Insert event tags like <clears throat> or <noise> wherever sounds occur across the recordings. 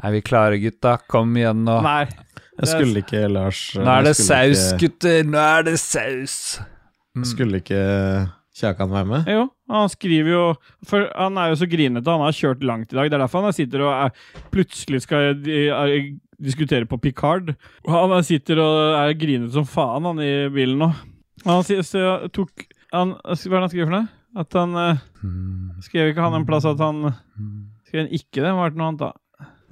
Er vi klare, gutta? Kom igjen nå. Nei. Jeg skulle ikke, Lars eh, Nå er det jeg skulle saus, ikke- gutter! Nå er det saus! Mm. Skulle ikke Kjakan være med? Jo, han skriver jo for Han er jo så grinete. Han har kjørt langt i dag. Det er derfor han sitter og er, plutselig skal de- er, diskutere på Picard. Han er- sitter og er grinete som faen, han i bilen nå. Han sier- så tok han, Hva er det han skriver for noe? At han eh, Skrev ikke han en plass at han Skrev han ikke det? Var det noe annet, da?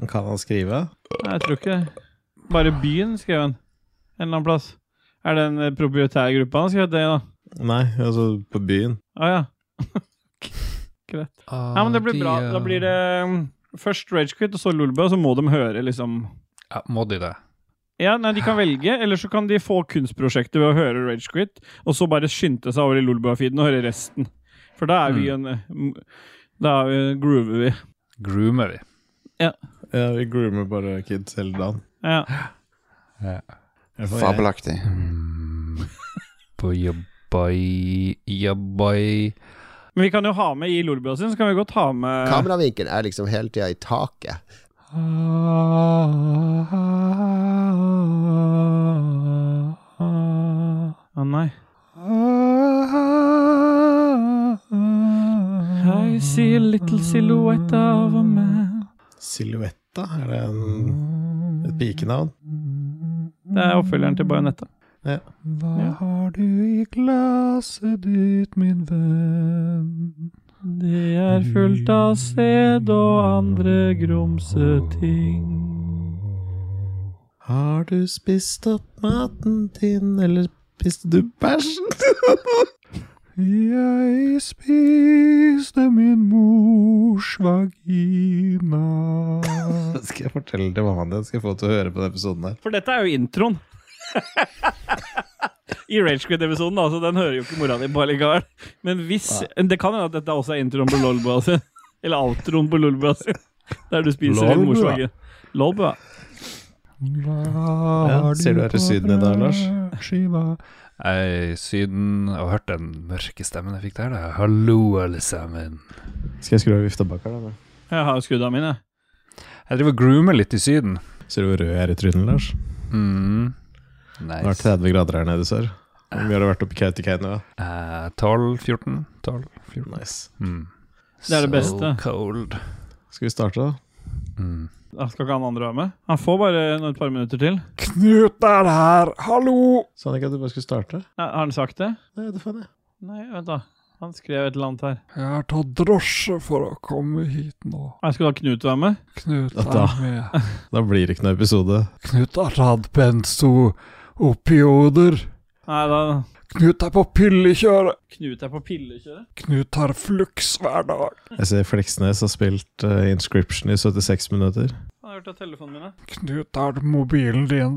Kan han skrive? Nei, jeg tror ikke det. Bare byen, skrev han. En eller annen plass. Er det en eh, proprietær gruppe han har skrevet det, i, da? Nei, altså på byen. Å ja. Nei, men det blir bra. Da blir det mm, først Ragequit og så Lulebø, og så må de høre, liksom. ja, Må de det? Ja, nei, De kan velge, eller så kan de få kunstprosjektet ved å høre Ragequit, og så bare skynde seg over i Lulebø-feeden og høre resten. For da er vi en eh, m- Da er vi, groover vi. Groomer vi. Ja, vi groomer bare kids hele dagen. Ja. I hvert fall jeg. Fabelaktig. Mm. Boy, yeah, boy. Men vi kan jo ha med i Lulebø sin, så kan vi godt ha med Kameravinkelen er liksom hele tida i taket. Å nei. I see a little silhouette of a man. Silhuetta, er det en, et pikenavn? Det er oppfølgeren til Bajonetta. Hva Ja. har du i glasset ditt, min venn? Det er fullt av sæd og andre grumse ting. Har du spist opp maten din, eller spiste du bæsjen? <laughs> Jeg spiste min mors vagina. skal jeg fortelle til mammaen din? Skal jeg få til å høre på den episoden her? For dette er jo <laughs> introen. I Ragequid-episoden, altså. Den hører jo ikke mora di på likevel. Men hvis Det kan hende at dette også er introen på Lolbua sin. Eller outroen på Lolbua sin. Der du spiser din Lolbua. morslag. Lolbua. Hva Ja, har ser du er i på Syden i dag, Lars? brødskiva? Jeg er i Syden og hørte den mørke stemmen jeg fikk der. Da. Hallo, alle sammen. Skal jeg skru av vifta bak her, da? Jeg har jo skrudd av mine. Jeg driver og groomer litt i Syden. Ser du hvor rød jeg er i trynet, Lars? Mm. Det har vært Nice. 30 grader her nede, sør. Hvor mye har det vært oppe i Kautokeino? da? Eh, 12-14. 12-14. Nice. Mm. Det er det beste. So cold. Skal vi starte, da? Mm. Da skal ikke han andre være med? Han får bare noen- et par minutter til. Knut er her, hallo! Sa han ikke at du bare skulle starte? Nei, har han sagt det? Nei, det faen jeg. Nei, vent da. Han skrev et eller annet her. Jeg har tatt drosje for å komme hit nå. Jeg skulle da Knut være med? Knut Ja, da. er med. Da blir det ikke noe episode. Knut har tatt benzo-opioder. Nei, da Knut er på pillekjøret. Knut er på pillekjøret. Knut har flux hver dag. Jeg ser Fleksnes har spilt eh, Inscription i 76 minutter. Han har hørt av telefonen min, ja. Knut har mobilen din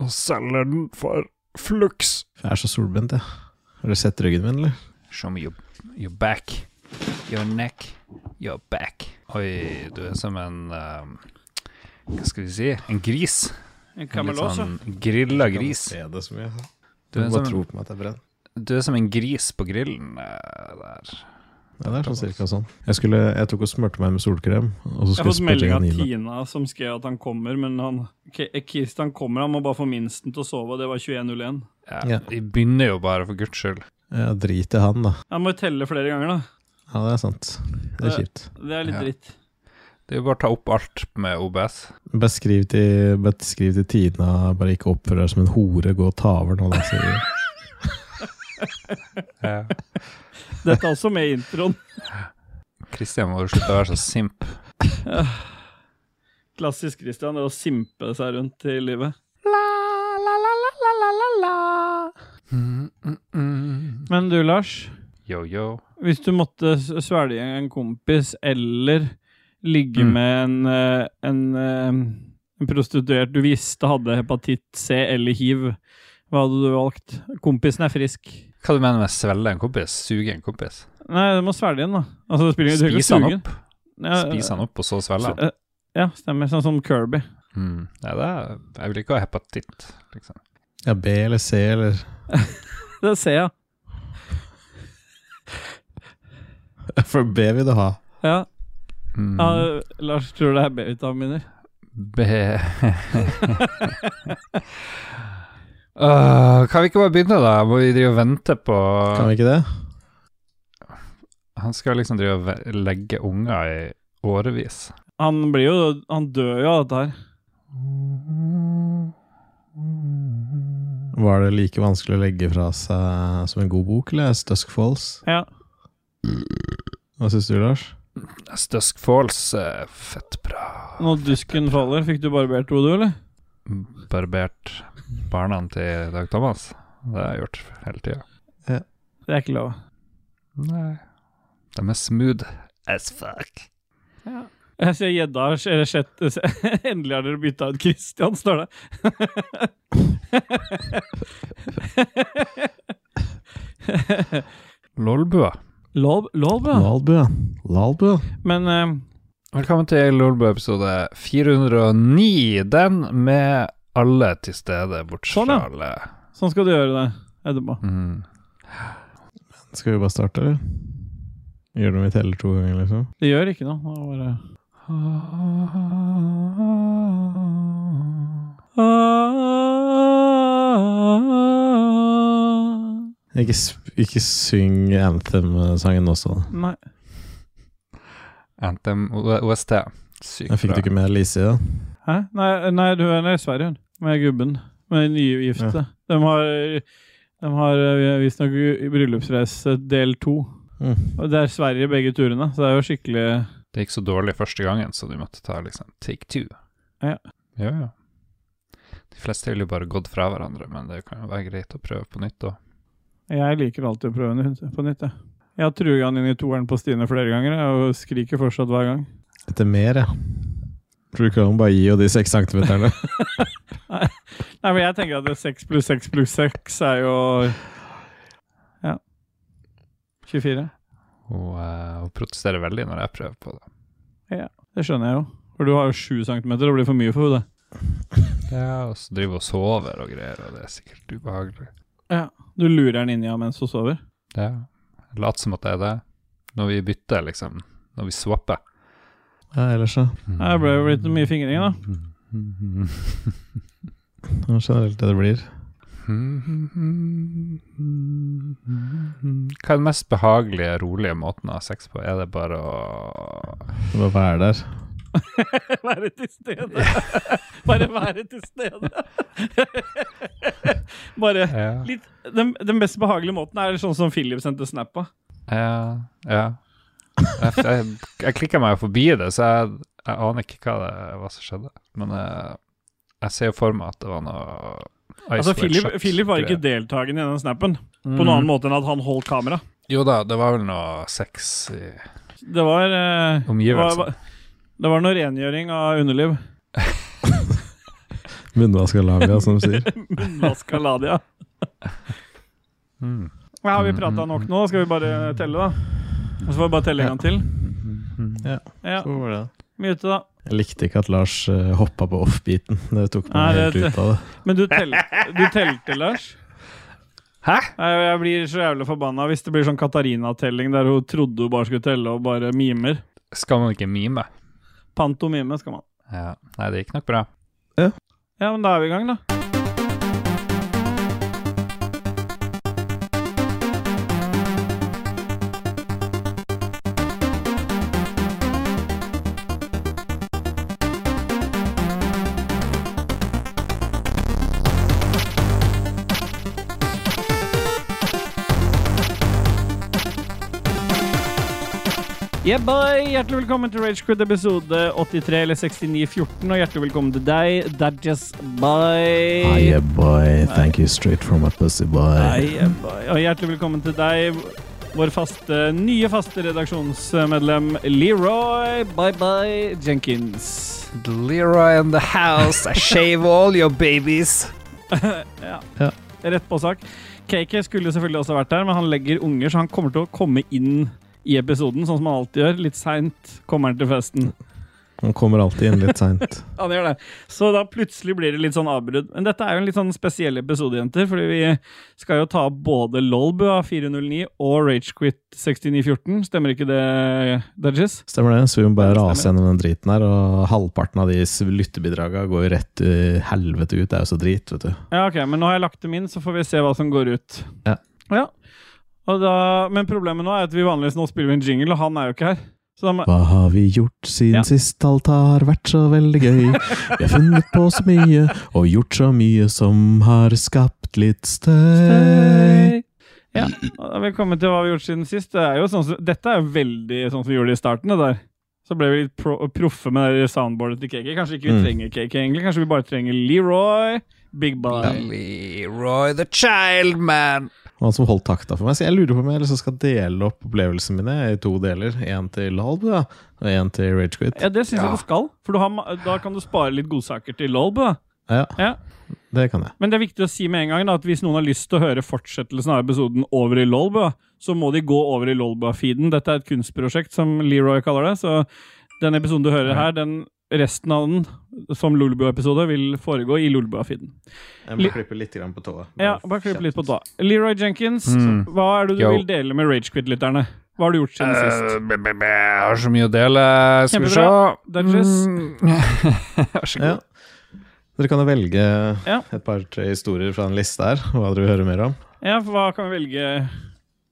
og selger den for flux. Jeg er så solbrent, jeg. Har du sett ryggen min, eller? Show me your, your back. Your neck. Your back. Oi, du er som en um, Hva skal vi si? En gris. En En litt kamelås, ja. sånn grilla gris. Jeg kan se det så mye. Du Du er må som sånn- en- tro på meg at jeg er brent. Du er som en gris på grillen eh, der. Ja, det er sånn cirka sånn. Jeg, skulle, jeg tok og smurte meg med solkrem, Jeg har og så skulle fått jeg spille melding av kanina. Tina som skrev at han kommer, men han K- Kristian kommer, han må bare få minsten til å sove, og det var 21.01. Ja, Ja. Vi begynner jo bare, for guds skyld. Ja, drit i han, da. Han må jo telle flere ganger, da. Ja, det er sant. Det er Ja. kjipt. Det er litt Ja. dritt. Det er jo bare å ta opp alt med OBS. Beskriv til, beskriv til Tina bare ikke oppfør deg som en hore, gå og ta over nå, da, sier du. <laughs> Dette er også med i introen. Kristian må jo slutte å være så simp. Klassisk Kristian, det å simpe seg rundt i livet. Men du, Lars. Yo, yo. Hvis du måtte s- svelge en kompis eller ligge Mm. med en, eh, en, eh, en prostituert du visste hadde hepatitt C eller hiv, hva hadde du valgt? Kompisen er frisk. Hva du mener med svelle en kompis? Suge en kompis? Nei, du må svelge den, da. Altså, det spiller ingen- du trenger ikke Spise han suge den. opp? Ja, Spise han opp, og så svelle han? s- eh, Ja, stemmer. Sånn som Kirby. <laughs> Mm. Nei, det er, jeg vil ikke ha hepatitt, liksom. Ja, B eller C eller <laughs> Det ser jeg. For B vil du ha. Ja. Mm. Mm. ja Lars tror det er B-vitaminer. Be... Åh, Ah, kan vi ikke bare begynne, da? Må vi drive og vente på Kan vi ikke det? Han skal liksom drive og ve- legge unger i årevis. Han blir jo Han dør jo av dette her. Var det like vanskelig å legge fra seg som en god bok, eller Stusk Falls? Ja. Hva syns du, Lars? Stusk Falls, eh, fett bra. Når dusken faller, fikk du barbert hodet, eller? Barbert barna til Dag Thomas. Det har jeg gjort hele tida. Det er ikke lov. Nei. De er smooth as fuck. Jeg ser gjedda har- eller sett <laughs> Endelig har dere bytta ut Christian, står det. Lolbua. <laughs> Lov, lov ja. Lalbø. Lalbø. Men eh, Velkommen til Lolbua episode 409. Den med alle til stede, bortsett Sånn, ja. fra alle. sånn skal du gjøre det etterpå. Mm. Skal vi bare starte, eller? Gjør det om vi teller to ganger, liksom? Det gjør ikke noe. Det er bare Ikke, s- ikke syng Anthem-sangen også. da. Nei. Anthem O- OST. Sykt Jeg fikk det bra. ikke med Lise i det. Hæ? Nei, nei du er i Sverige, hun. Med gubben. Med nygifte. De har, de har eh, visstnok bryllupsreise del to. Mm. Og det er Sverige begge turene, så det er jo skikkelig Det gikk så dårlig første gangen, så de måtte ta liksom take two. Ja. ja, ja. De fleste ville jo bare gått fra hverandre, men det kan jo være greit å prøve på nytt òg. Jeg liker alltid å prøve nytt- på nytt, jeg. Jeg har truga han inn i toeren på Stine flere ganger jeg, og skriker fortsatt hver gang. Etter mer, ja. Tror du ikke han bare gir jo de seks centimeterne? Nei, men jeg tenker at det er 6 pluss 6 pluss 6 er jo Ja. 24. Hun, eh, hun protesterer veldig når jeg prøver på det. Det skjønner jeg jo. For du har jo 7 cm og blir for mye for hodet. Ja, og så driver hun og sover og greier, og det er sikkert ubehagelig. Du lurer den inn i henne mens hun sover. Ja. Lat som at det er det. Når vi bytter, liksom. Når vi swapper. Ja, ellers, ja. Her ble det blitt mye fingring, da. Det er Generelt det det blir. Hva er den mest behagelige, rolige måten å ha sex på? Er det bare å Det Bare være der. <laughs> Være til stede. Bare være til stede. Bare Ja. litt den, den mest behagelige måten er sånn som Philip sendte snap på. ja, ja. Jeg, jeg, jeg klikka meg jo forbi det, så jeg, jeg aner ikke hva, det, hva som skjedde. Men jeg, jeg ser jo for meg at det var noe Altså, Philip, Philip var ikke deltakende i den snappen på Mm. noen annen måte enn at han holdt kamera. Jo da, det var vel noe sex i Det var eh, det var- omgivelsene. Det var noe rengjøring av underliv. Munnvask av labia, som de sier. Munnvaskaladia. Mm. Ja, har vi prata nok nå? Skal vi bare telle, da? Og så får vi bare telle en gang til. Ja, Så var det. Mute, da. Jeg likte ikke at Lars uh, hoppa på offbeaten. Det tok meg Nei, helt det- ut av det. Men du, tel du telte, Lars? Hæ? Nei, Jeg blir så jævlig forbanna hvis det blir sånn Katarina-telling der hun trodde hun bare skulle telle og bare mimer. Skal man ikke mime? Pantomime skal man. Ja. Nei, det gikk nok bra. Ja, men da er vi i gang, da. Yeah, boy! Hjertelig velkommen til Ragequid episode 83 eller 69-14, og hjertelig velkommen til deg, Dadges Bye. Hiya, boy. Thank you straight from a pussy boy. Nei, jeg bare- Og hjertelig velkommen til deg, vår faste, nye faste redaksjonsmedlem Leroy Bye Bye Jenkins. Leroy in the house, <laughs> I shave all your babies. Ja. Ja. Rett på sak. KK skulle jo selvfølgelig også vært der, men han legger unger, så han kommer til å komme inn i episoden, sånn som han alltid gjør. Litt seint kommer han til festen. Han kommer alltid inn litt <laughs> seint. Han gjør det. Så da plutselig blir det litt sånn avbrudd. Men dette er jo en litt sånn spesiell episode, jenter, fordi vi skal jo ta opp både Lolbua 409 og Ragequit 6914. Stemmer ikke det, Dudges? Stemmer det? Så vi må Ja, bare det rase gjennom den driten her, og halvparten av de s- lyttebidraga går jo rett i helvete ut. Det er jo så drit, vet du. Ja, ok, men nå har jeg lagt dem inn, så får vi se hva som går ut. Ja. ja. Og da, men problemet nå er at vi vanligvis nå spiller vi en jingle, og han er jo ikke her. Så da må Hva har vi gjort siden Ja. sist alt har vært så veldig gøy? Vi har funnet på så mye, og gjort så mye som har skapt litt støy. Ja, og da har vi kommet til hva vi har gjort siden sist. Det er jo sånn som, dette er jo veldig sånn som vi gjorde det i starten. Det der. Så ble vi litt pro proffe med det der soundboardet til KK. Kanskje ikke vi Mm. trenger KK egentlig. Kanskje vi bare trenger Leroy, Big Bye. Leroy the child man. Og Han som holdt takta for meg. Så jeg lurer på om jeg liksom skal dele opp opplevelsene mine i to deler. Én til Halb da, og én til Ragequit. Ja, det syns Ja. jeg du skal. For du har, ma- da kan du spare litt godsaker til LOLB. Da. Ja, Ja. det kan jeg. Men det er viktig å si med en gang da, at hvis noen har lyst til å høre fortsettelsen av episoden over i Lolbua, så må de gå over i Lolbua-feeden. Dette er et kunstprosjekt, som Leroy kaller det. Så den episoden du hører her, den resten av den som Lolbua-episode, vil foregå i Lolbua-feeden. Jeg må klippe litt på tåa. Ja, bare klipp litt på da. Leroy Jenkins, Mm. hva er det du Yo. vil dele med Ragequid-lytterne? Hva har du gjort siden sist? Eh, bæ, bæ, bæ, jeg har så mye å dele. Skal vi se Kjempebra. Dodges. Mm. Vær så Ja. god. Dere kan jo velge Ja. et par-tre historier fra en liste her, hva dere vil høre mer om. Ja, for hva kan vi velge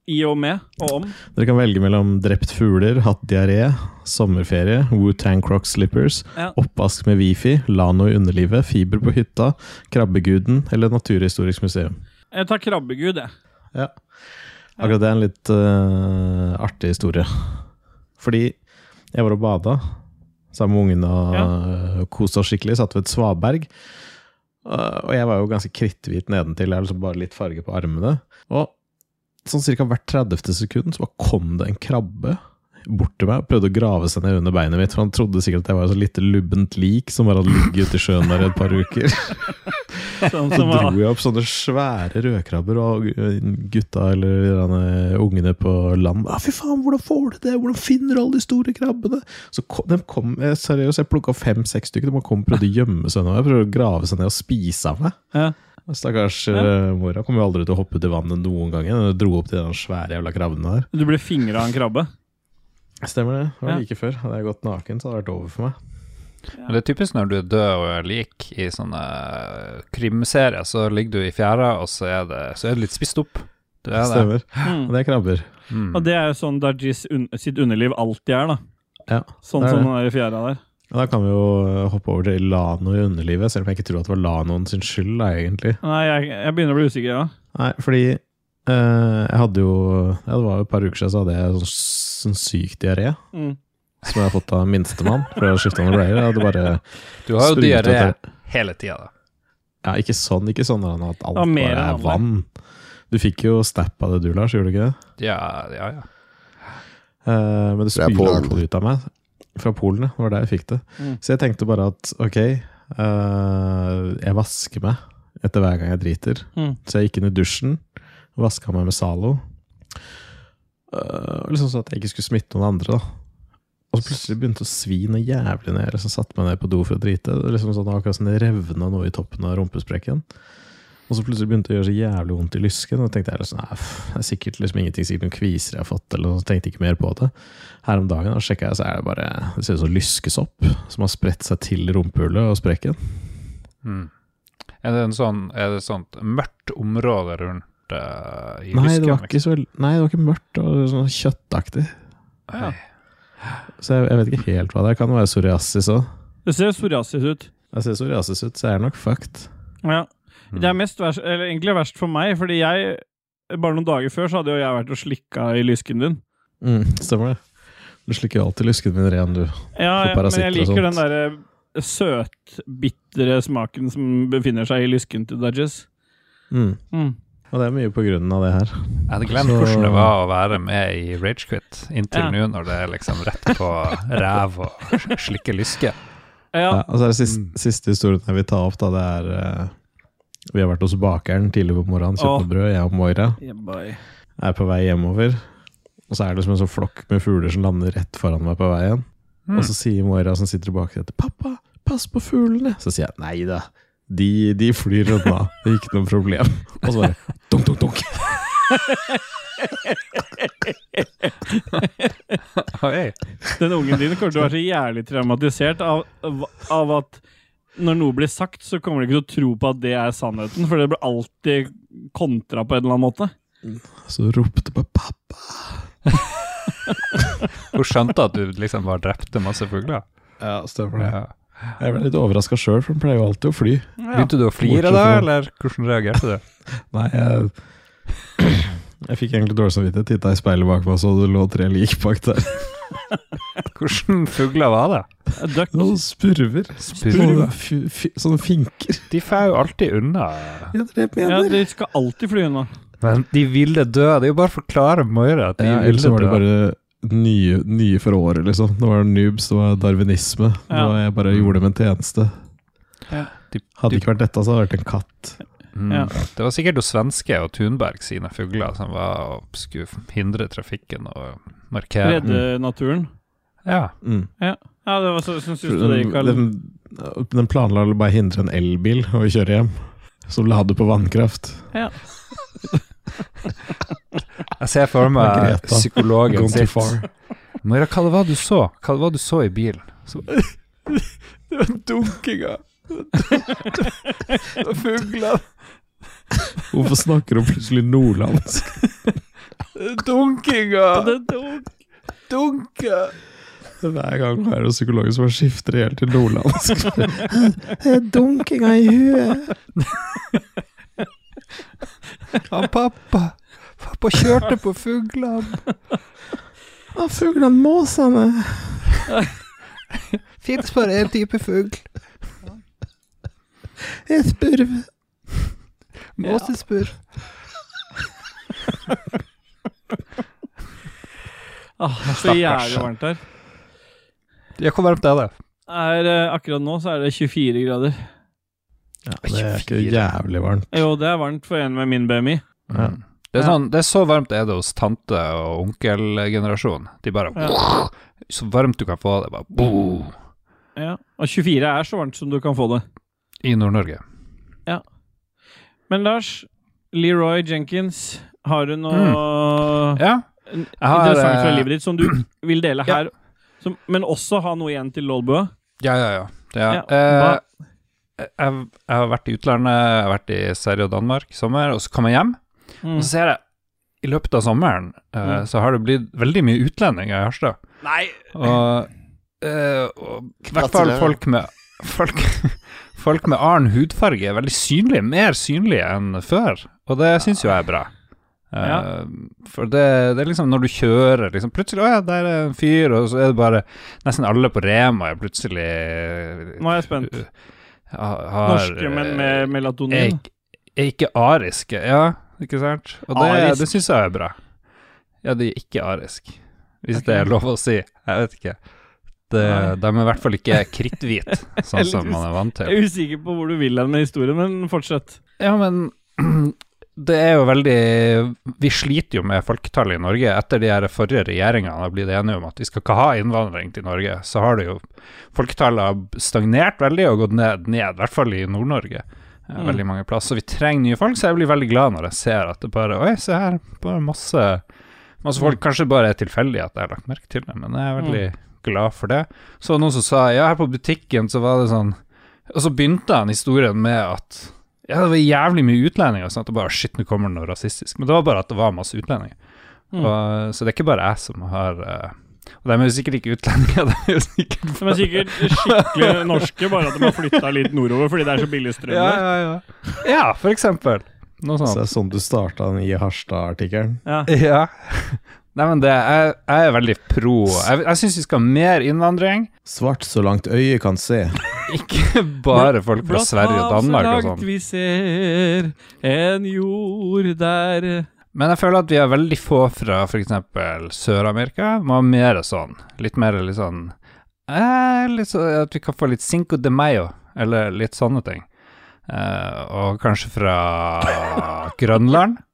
i og med og om? Dere kan velge mellom drept fugler, hatt diaré, sommerferie, Wu-Tang Croc slippers, Ja. oppvask med wifi, Lano i underlivet, fiber på hytta, Krabbeguden eller Naturhistorisk museum. Jeg tar Eh, krabbegud, jeg. Ja. Akkurat det er en litt eh, artig historie. Fordi jeg var og bada sammen med ungene og eh, koste oss skikkelig. Satt ved et svaberg. Eh, og jeg var jo ganske kritthvit nedentil. Jeg har liksom bare litt farge på armene. Og sånn cirka hvert 30. sekund så bare kom det en krabbe bort til meg og prøvde å grave seg ned under beinet mitt. For han trodde sikkert at jeg var et så lite lubbent lik som bare hadde ligget ute i sjøen der i et par uker. Sånn Så <laughs> <laughs> som dro jeg opp sånne svære rødkrabber, og eh, gutta eller de derne ungene på land ah, 'Fy faen, hvordan får du det? Hvordan finner du alle de store krabbene?' Så kom, de kom, eh, Seriøst, jeg plukka fem-seks stykker. De kom og prøvde å gjemme seg unna meg, prøvde å grave seg ned og spise av meg. Ja. Stakkars eh, mora kommer jo aldri til å hoppe ut i vannet noen gang igjen. Hun dro opp de der svære jævla krabbene der. Du ble fingra av en krabbe? Stemmer det. Det var Ja. like før. Hadde jeg gått naken, så hadde det vært over for meg. Men det er typisk når du er død og er lik i sånne krimserier, så ligger du i fjæra, og så er det, så er det litt spist opp. Du er det. Stemmer. Mm. Og det er krabber. Mm. Og det er jo sånn Dajis un sitt underliv alltid er, da. Ja. Sånn Det er som det. den der fjæra der. Og Da kan vi jo eh, hoppe over til Lano i underlivet, selv om jeg ikke tror at det var Lanoen sin skyld, da, egentlig. Nei, jeg, jeg begynner å bli usikker, ja. Nei, fordi eh, jeg hadde jo ja, Det var jo et par uker siden så hadde jeg sånn, sånn syk diaré Mm. som jeg har fått av minstemann. For jeg hadde skifta noen bleier. Jeg hadde bare Du har jo sprutet diaré etter- hele tida, da. Ja, ikke sånn. Ikke sånn at alt var bare mer er enn vanlig. vann. Du fikk jo stapp av det du, Lars, gjorde du ikke det? Ja, ja, ja. Eh, men det Fra spyler i Polen. hvert fall ut av meg. Fra Polen, ja. Det var der jeg fikk det. Mm. Så jeg tenkte bare at ok, eh, jeg vasker meg etter hver gang jeg driter. Mm. Så jeg gikk inn i dusjen, vaska meg med Zalo. Eh, liksom sånn at jeg ikke skulle smitte noen andre, da. Og så plutselig begynte det å svi noe jævlig når jeg liksom satte meg ned på do for å drite. Det var Liksom sånn Akkurat som det revna noe i toppen av rumpesprekken. Og så plutselig begynte det å gjøre så jævlig vondt i lysken. Og da tenkte jeg liksom, nei, pff, det er sikkert liksom ingenting, sikkert noen kviser jeg har fått, eller noe. Så Tenkte jeg ikke mer på det. Her om dagen da sjekket jeg, så er det bare Det ser ut som lyskesopp som har spredt seg til rumpehullet og sprekken. Mm. Er det en sånn, er det et sånt mørkt område rundt eh, i Nei, det lysken, var ikke så veld- Nei, det var ikke mørkt. Det var sånn kjøttaktig. liksom? Så jeg, jeg vet ikke helt hva det er. Kan være psoriasis òg. Det ser psoriasis ut. Jeg ser psoriasis ut, så jeg er nok fucked. Ja. Mm. Det er mest verst, eller egentlig verst for meg, fordi jeg bare noen dager før så hadde jo jeg vært og slikka i lysken din. Mm, stemmer det. Du slikker jo alltid lysken min ren, du. Ja, For ja men jeg parasitt og liker sånt. den derre søtbitre smaken som befinner seg i lysken til Dudges. Mm. Mm. Og det er mye på grunnen av det her. Jeg hadde glemt Så- hvordan det var å være med i Ragequit inntil Ja. nå, når det er liksom rett på ræv og slikke lyske. Ja, Ja, og så er det siste, Mm. siste historien jeg vil ta opp, da. Det er eh, Vi har vært hos bakeren tidlig på morgenen, kjøpt Åh. noe brød, jeg og Moira. Yeah, boy. er på vei hjemover, og så er det som en sånn flokk med fugler som lander rett foran meg på veien. Mm. Og så sier Moira, som sitter bak etter, 'Pappa, pass på fuglene'. Så sier jeg 'Nei da, de, de flyr unna. Det er ikke noe problem'. Og så bare dunk, dunk, dunk. Oi. Den ungen din kommer til å være så jævlig traumatisert av, av, av at når noe blir sagt, så kommer de ikke til å tro på at det er sannheten, for det blir alltid kontra på en eller annen måte. Så ropte bare 'pappa'. Hun skjønte at du liksom bare drepte masse fugler. Ja, stemmer det. Ja. Jeg ble litt overraska sjøl, for hun pleier jo alltid å fly. Begynte du å flire Bortsett da, fra- eller hvordan reagerte du? Nei, jeg, jeg fikk egentlig dårlig samvittighet. Titta i speilet bak meg, så det lå tre lik bak der. <laughs> Hvordan fugler var det? Duck. Noen spurver. Spurver. F- f- Sånne finker. De får jo alltid unna. Ja, det er det jeg Ja, mener. de skal alltid fly unna. Men de ville dø. Det er jo bare å forklare Moira at de Ja, Ellers så ville var det dø. bare nye, nye for året, liksom. Det var noobs, det var darwinisme. Det Ja. var jeg bare gjorde dem en tjeneste. Ja. De- Hadde de- ikke vært dette, så hadde det vært en katt. Mm. Ja. Det var sikkert jo svenske og Thunberg sine fugler som var og skulle hindre trafikken og markere. Redde naturen. Ja. Mm. Ja, det var så, så synes du det Den, gikk vel. den, den planla å bare hindre en elbil å kjøre hjem. Så la du på vannkraft. Ja. Jeg ser for meg Margrethe. psykologen Gone too sitt. far. Moira, hva det var du så? Hva det var du så i bilen? Så, Det var dunkinga. Det var fugler. Hvorfor snakker du plutselig nordlandsk? Dunkinga! Det dunk. Dunka! Hver gang er det psykologen som bare skifter helt til nordlandsk. <laughs> Dunkinga i huet. Han pappa Pappa kjørte på fuglene. Av fuglene måsene. Fins bare én type fugl. En spurv. Måsespurv. Ah, så jævlig varmt her. Ja, hvor varmt er det? Er, eh, akkurat nå så er det 24 grader. det er ikke jævlig varmt. Jo, det er varmt for en med min BMI. Ja. Det er, sånn, det er så varmt er det hos tante- og onkelgenerasjonen. De bare Så varmt du kan få det. Bare, bo, Ja. Og 24 er så varmt som du kan få det. I Nord-Norge. Men Lars, Leroy Jenkins, har du noe Ja. n- Jeg har, interessant fra eh, livet ditt <clears throat> som du vil dele Ja. her? Som, men også ha noe igjen til Lolbua? Ja, ja, ja. Ja, ja. hva- eh, jeg, jeg har vært i utlandet, jeg har vært i Sverige og Danmark i sommer, og så kom jeg hjem. Mm. Og så ser jeg, i løpet av sommeren, eh, Mm. så har det blitt veldig mye utlendinger i Harstad. Nei! Og, eh, og i hvert fall Gratulerer. folk med Folk, <laughs> folk med annen hudfarge er veldig synlige, mer synlige enn før, og det syns jo jeg er bra. Eh, Ja. For det, det er liksom når du kjører liksom Plutselig, å ja, der er en fyr, og så er det bare Nesten alle på Rema er plutselig Nå er jeg spent. ha- har, eh, Norske, men med er, melatonin. ikk- er ikke ariske, ja, ikke sant? Og det, Arisk? det syns jeg er bra. Ja, de er ikke arisk, hvis det er lov å si. Jeg vet ikke. Det, Nei. de er i hvert fall ikke <laughs> kritthvite, sånn som man er vant til. Jeg er usikker på hvor du vil hen med historien, men fortsett. Ja, men <clears throat> det er jo veldig Vi sliter jo med folketallet i Norge. Etter de her forrige regjeringene har blitt enige om at vi skal ikke ha innvandring til Norge, så har det jo folketallet har stagnert veldig og gått ned, ned i hvert fall i Nord-Norge. Eh, Mm. Veldig mange plasser. Så vi trenger nye folk, så jeg blir veldig glad når jeg ser at det bare Oi, se her, bare masse, masse altså, folk. Kanskje bare er tilfeldig at jeg har lagt merke til det, men jeg er veldig glad for det. Så var det noen som sa Ja, her på butikken så var det sånn Og så begynte han historien med at ja, det var jævlig mye utlendinger. Sånn at det bare, Shit, nå kommer det noe rasistisk. Men det var bare at det var masse utlendinger. Mm. Og, så det er ikke bare jeg som har eh, Og de er jo sikkert ikke utlendinger. <laughs> De er jo sikkert De er sikkert <laughs> skikkelig norske, bare at de har flytta litt nordover fordi det er så billig strøm ja, der. ja, ja. ja, for eksempel. Noe Så sånt. det er sånn du starta den i Harstad-artikkelen. Ja. <laughs> Ja. Nei, men det, jeg, jeg er veldig pro Jeg, jeg syns vi skal ha mer innvandring. Svart så langt øyet kan se. Ikke bare folk fra Sverige og Danmark og sånn. vi ser en jord der Men jeg føler at vi er veldig få fra f.eks. Sør-Amerika. Må ha mer sånn. Litt mer litt sånn eh, litt så, At vi kan få litt Cinco de Mayo, eller litt sånne ting. Eh, og kanskje fra Grønland. <laughs>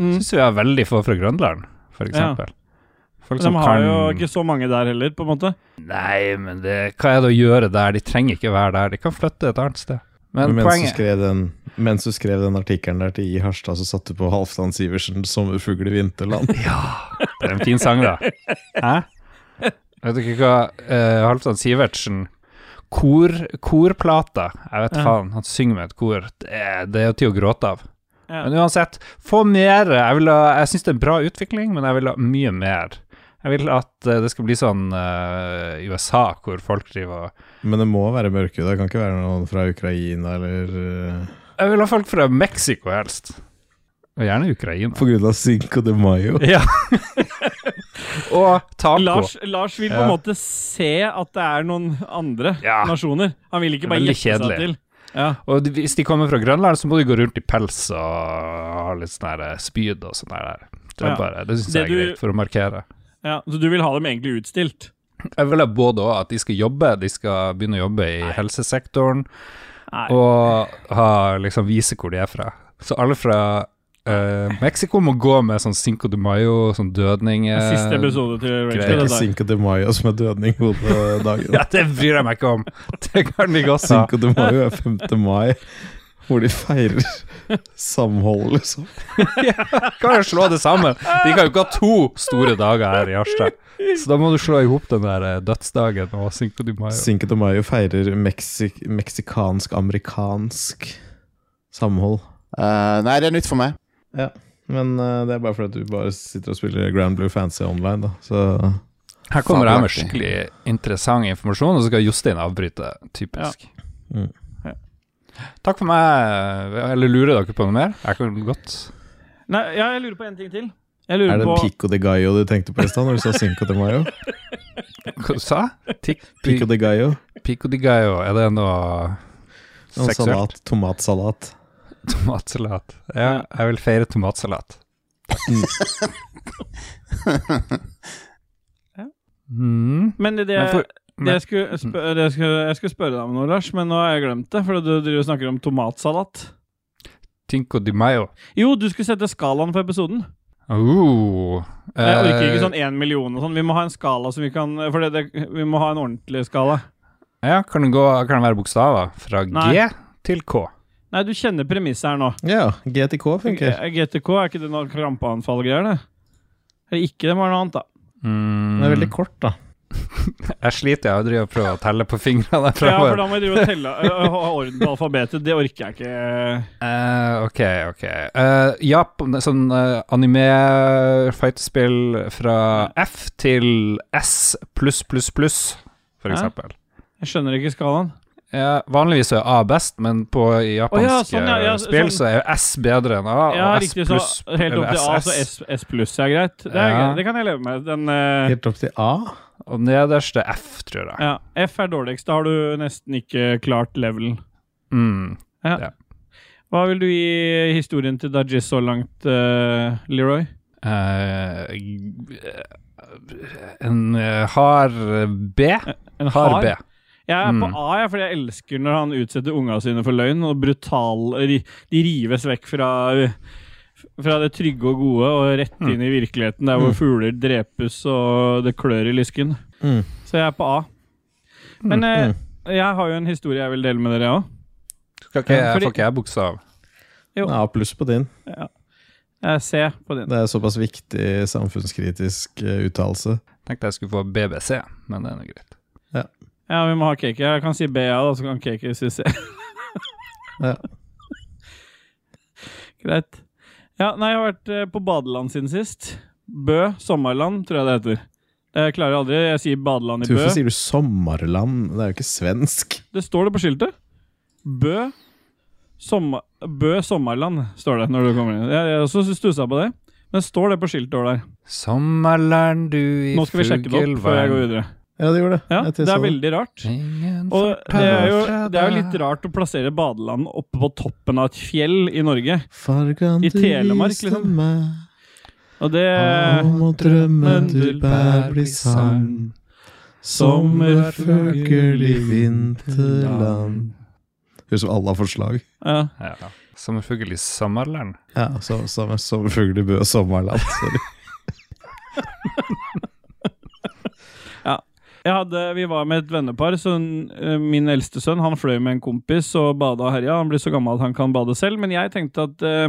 Mm. Mm. Syns vi er veldig få fra Grønland, f.eks. Ja. eksempel Folk De som har kan jo ikke så mange der heller, på en måte. Nei, men det, hva er det å gjøre der? De trenger ikke være der. De kan flytte et annet sted. Men Men, mens, du poenget skrev den, mens du skrev den artikkelen der til I Harstad, så satte du på Halvdan Sivertsen 'Sommerfugl i <laughs> vinterland'. Det er en fin sang, da. <laughs> Hæ? Vet du ikke hva eh, Halvdan Sivertsen kor, Korplata. Jeg vet Ja. faen. Han synger med et kor. Det er, det er jo til å gråte av. Ja. Men uansett, få mer. Jeg, vil ha, jeg syns det er en bra utvikling, men jeg vil ha mye mer. Jeg vil at eh, det skal bli sånn eh, i USA, hvor folk driver og Men det må være mørke, det kan ikke være noen fra Ukraina eller eh, Jeg vil ha folk fra Mexico, helst. Og gjerne Ukraina. På grunn av Cinco de Mayo. Ja. <laughs> og taco. Lars, Lars vil på en Ja. måte se at det er noen andre Ja. nasjoner. Han vil ikke bare Ah. Veldig gjette seg kjedelig. til. Ja. Og de- hvis de kommer fra Grønland, så må de gå rundt i pels og ha litt sånn her spyd og sånn der. Det, er Ja. bare, det syns Det jeg er du- greit, for å markere. Ja, så du vil ha dem egentlig utstilt? Jeg vil ha både òg, at de skal jobbe, de skal begynne å jobbe i helsesektoren, Nei. og ha, liksom vise hvor de er fra. Så alle fra uh, Mexico må gå med sånn Cinco de Mayo, sånn dødning eh, Siste episode til greit. Det er Rachel. ikke Cinco de Mayo som er dødning hodet <laughs> dagen. <laughs> Ja, det bryr jeg meg ikke om! Det kan de <laughs> godt ha. Cinco de Mayo er 5. mai, hvor de feirer samhold, liksom. Kan jo slå det sammen. De kan jo ikke ha to store dager her i Harstad. Så da må du slå i hop den der eh, dødsdagen og Cinco de Mayo. Cinco de Mayo feirer meksik meksikansk-amerikansk samhold. Eh, nei, det er nytt for <laughs> meg. Men eh, det er bare fordi at du bare sitter og spiller Grand Blue Fancy online, da. Så Her kommer jeg med Fabelaktig. skikkelig interessant informasjon, og så skal Jostein avbryte. Typisk. Ja. Mm. Ja. Takk for meg. Eller lurer dere på noe mer? Jeg kan godt Nei, ja, jeg lurer på en ting til. Jeg er lurer det på Pico de Gallo du tenkte på i stad når du sa Cinco de <laughs> Mayo? Hva sa jeg? Tikk, Pico de Gallo. Pico de gallo. Er det noe Noen seksuelt? salat, tomatsalat. Tomatsalat. Ja, jeg vil feire tomatsalat. Ja. Mm. Men det, Men Mm. for- det jeg, skulle spø- det jeg, skulle, jeg skulle spørre deg om noe, Lars, men nå har jeg glemt det. For du driver og snakker om tomatsalat. Tinco de Mayo. Jo, du skulle sette skalaen på episoden. Oh. Jeg orker ikke Eh. sånn én million og sånn. Vi må ha en skala som vi kan For det, det, vi må ha en ordentlig skala. Ja, kan det, gå, kan det være bokstaver fra G Nei. til K? Nei, du kjenner premisset her nå. Ja, GTK funker. GTK, er ikke det noe krampeanfall-greier, det? Eller ikke, det må være noe annet, da. Mm. Den er veldig kort, da. Jeg sliter, jeg driver og prøver å telle på fingrene der <laughs> Ja, for framover. da må vi drive og telle ø, ø, ha orden på alfabetet. Det orker jeg ikke. Eh, ok, ok. Eh, Jap, sånn eh, anime-fightespill fra F til S pluss, pluss, pluss, for Hæ? eksempel. Jeg skjønner ikke skalaen. Ja, vanligvis er A best, men på japanske Å ja, sånn, ja, ja, spill sånn. så er jo S bedre enn A, Ja, og S riktig, så pluss helt opp til A, så S, S pluss er greit. Det, er Ja. greit. det kan jeg leve med. Den, ø, Helt opp til A. Og nederst er F, tror jeg. ja. F er dårligst. Da har du nesten ikke klart levelen. Mm. Hva vil du gi historien til Dajis så langt, ø, Leroy? Eh, en eh, hard B. En Hard B. Jeg er på Mm. A, jeg, fordi jeg elsker når han utsetter unga sine for løgn. Og brutal ri- De rives vekk fra, fra det trygge og gode og rett inn i virkeligheten, der hvor fugler drepes og det klør i lysken. Mm. Så jeg er på A. Men eh, jeg har jo en historie jeg vil dele med dere òg. Skal ikke, Ja, fordi- Får ikke Eh, jeg bokstav? Jo. A pluss på din. Jeg ser på den. Det er såpass viktig samfunnskritisk eh, uttalelse. Tenkte jeg skulle få BBC, men det er nå greit. Ja, vi må ha cake. Jeg kan si B, ja, da, så kan cake si <laughs> C. Ja. Greit. Ja, nei, jeg har vært eh, på badeland siden sist. Bø, sommerland, tror jeg det heter. Jeg klarer aldri Jeg sier badeland i Bø. Hvorfor sier du sommerland? Det er jo ikke svensk. Det står det på skiltet. Bø, sommer, Bø sommerland, står det når du kommer inn. Jeg, jeg også stussa på det. Men står det på skiltet over der. Sommerland du i Nå skal vi sjekke det opp før jeg går videre. Ja, det gjorde det. Ja, Jeg det er tilstår veldig rart. Ingen Og det forteller er, jo, fra det er jo deg. litt rart å plassere badeland oppe på toppen av et fjell i Norge. Fargan I du Telemark, viste liksom. Eh, meg Og det Ah. Om å drømmen du bær blir sann Sommerfugl i vinterland Høres ut som alle har forslag. ja. ja. Sommerfugl i sommerland. Ja, så, så, sommerfugl i Bø og sommerland. Sorry. jeg hadde, vi var med et vennepar. Så eh, min eldste sønn han fløy med en kompis og bada og herja. Han blir så gammel at han kan bade selv, men jeg tenkte at eh,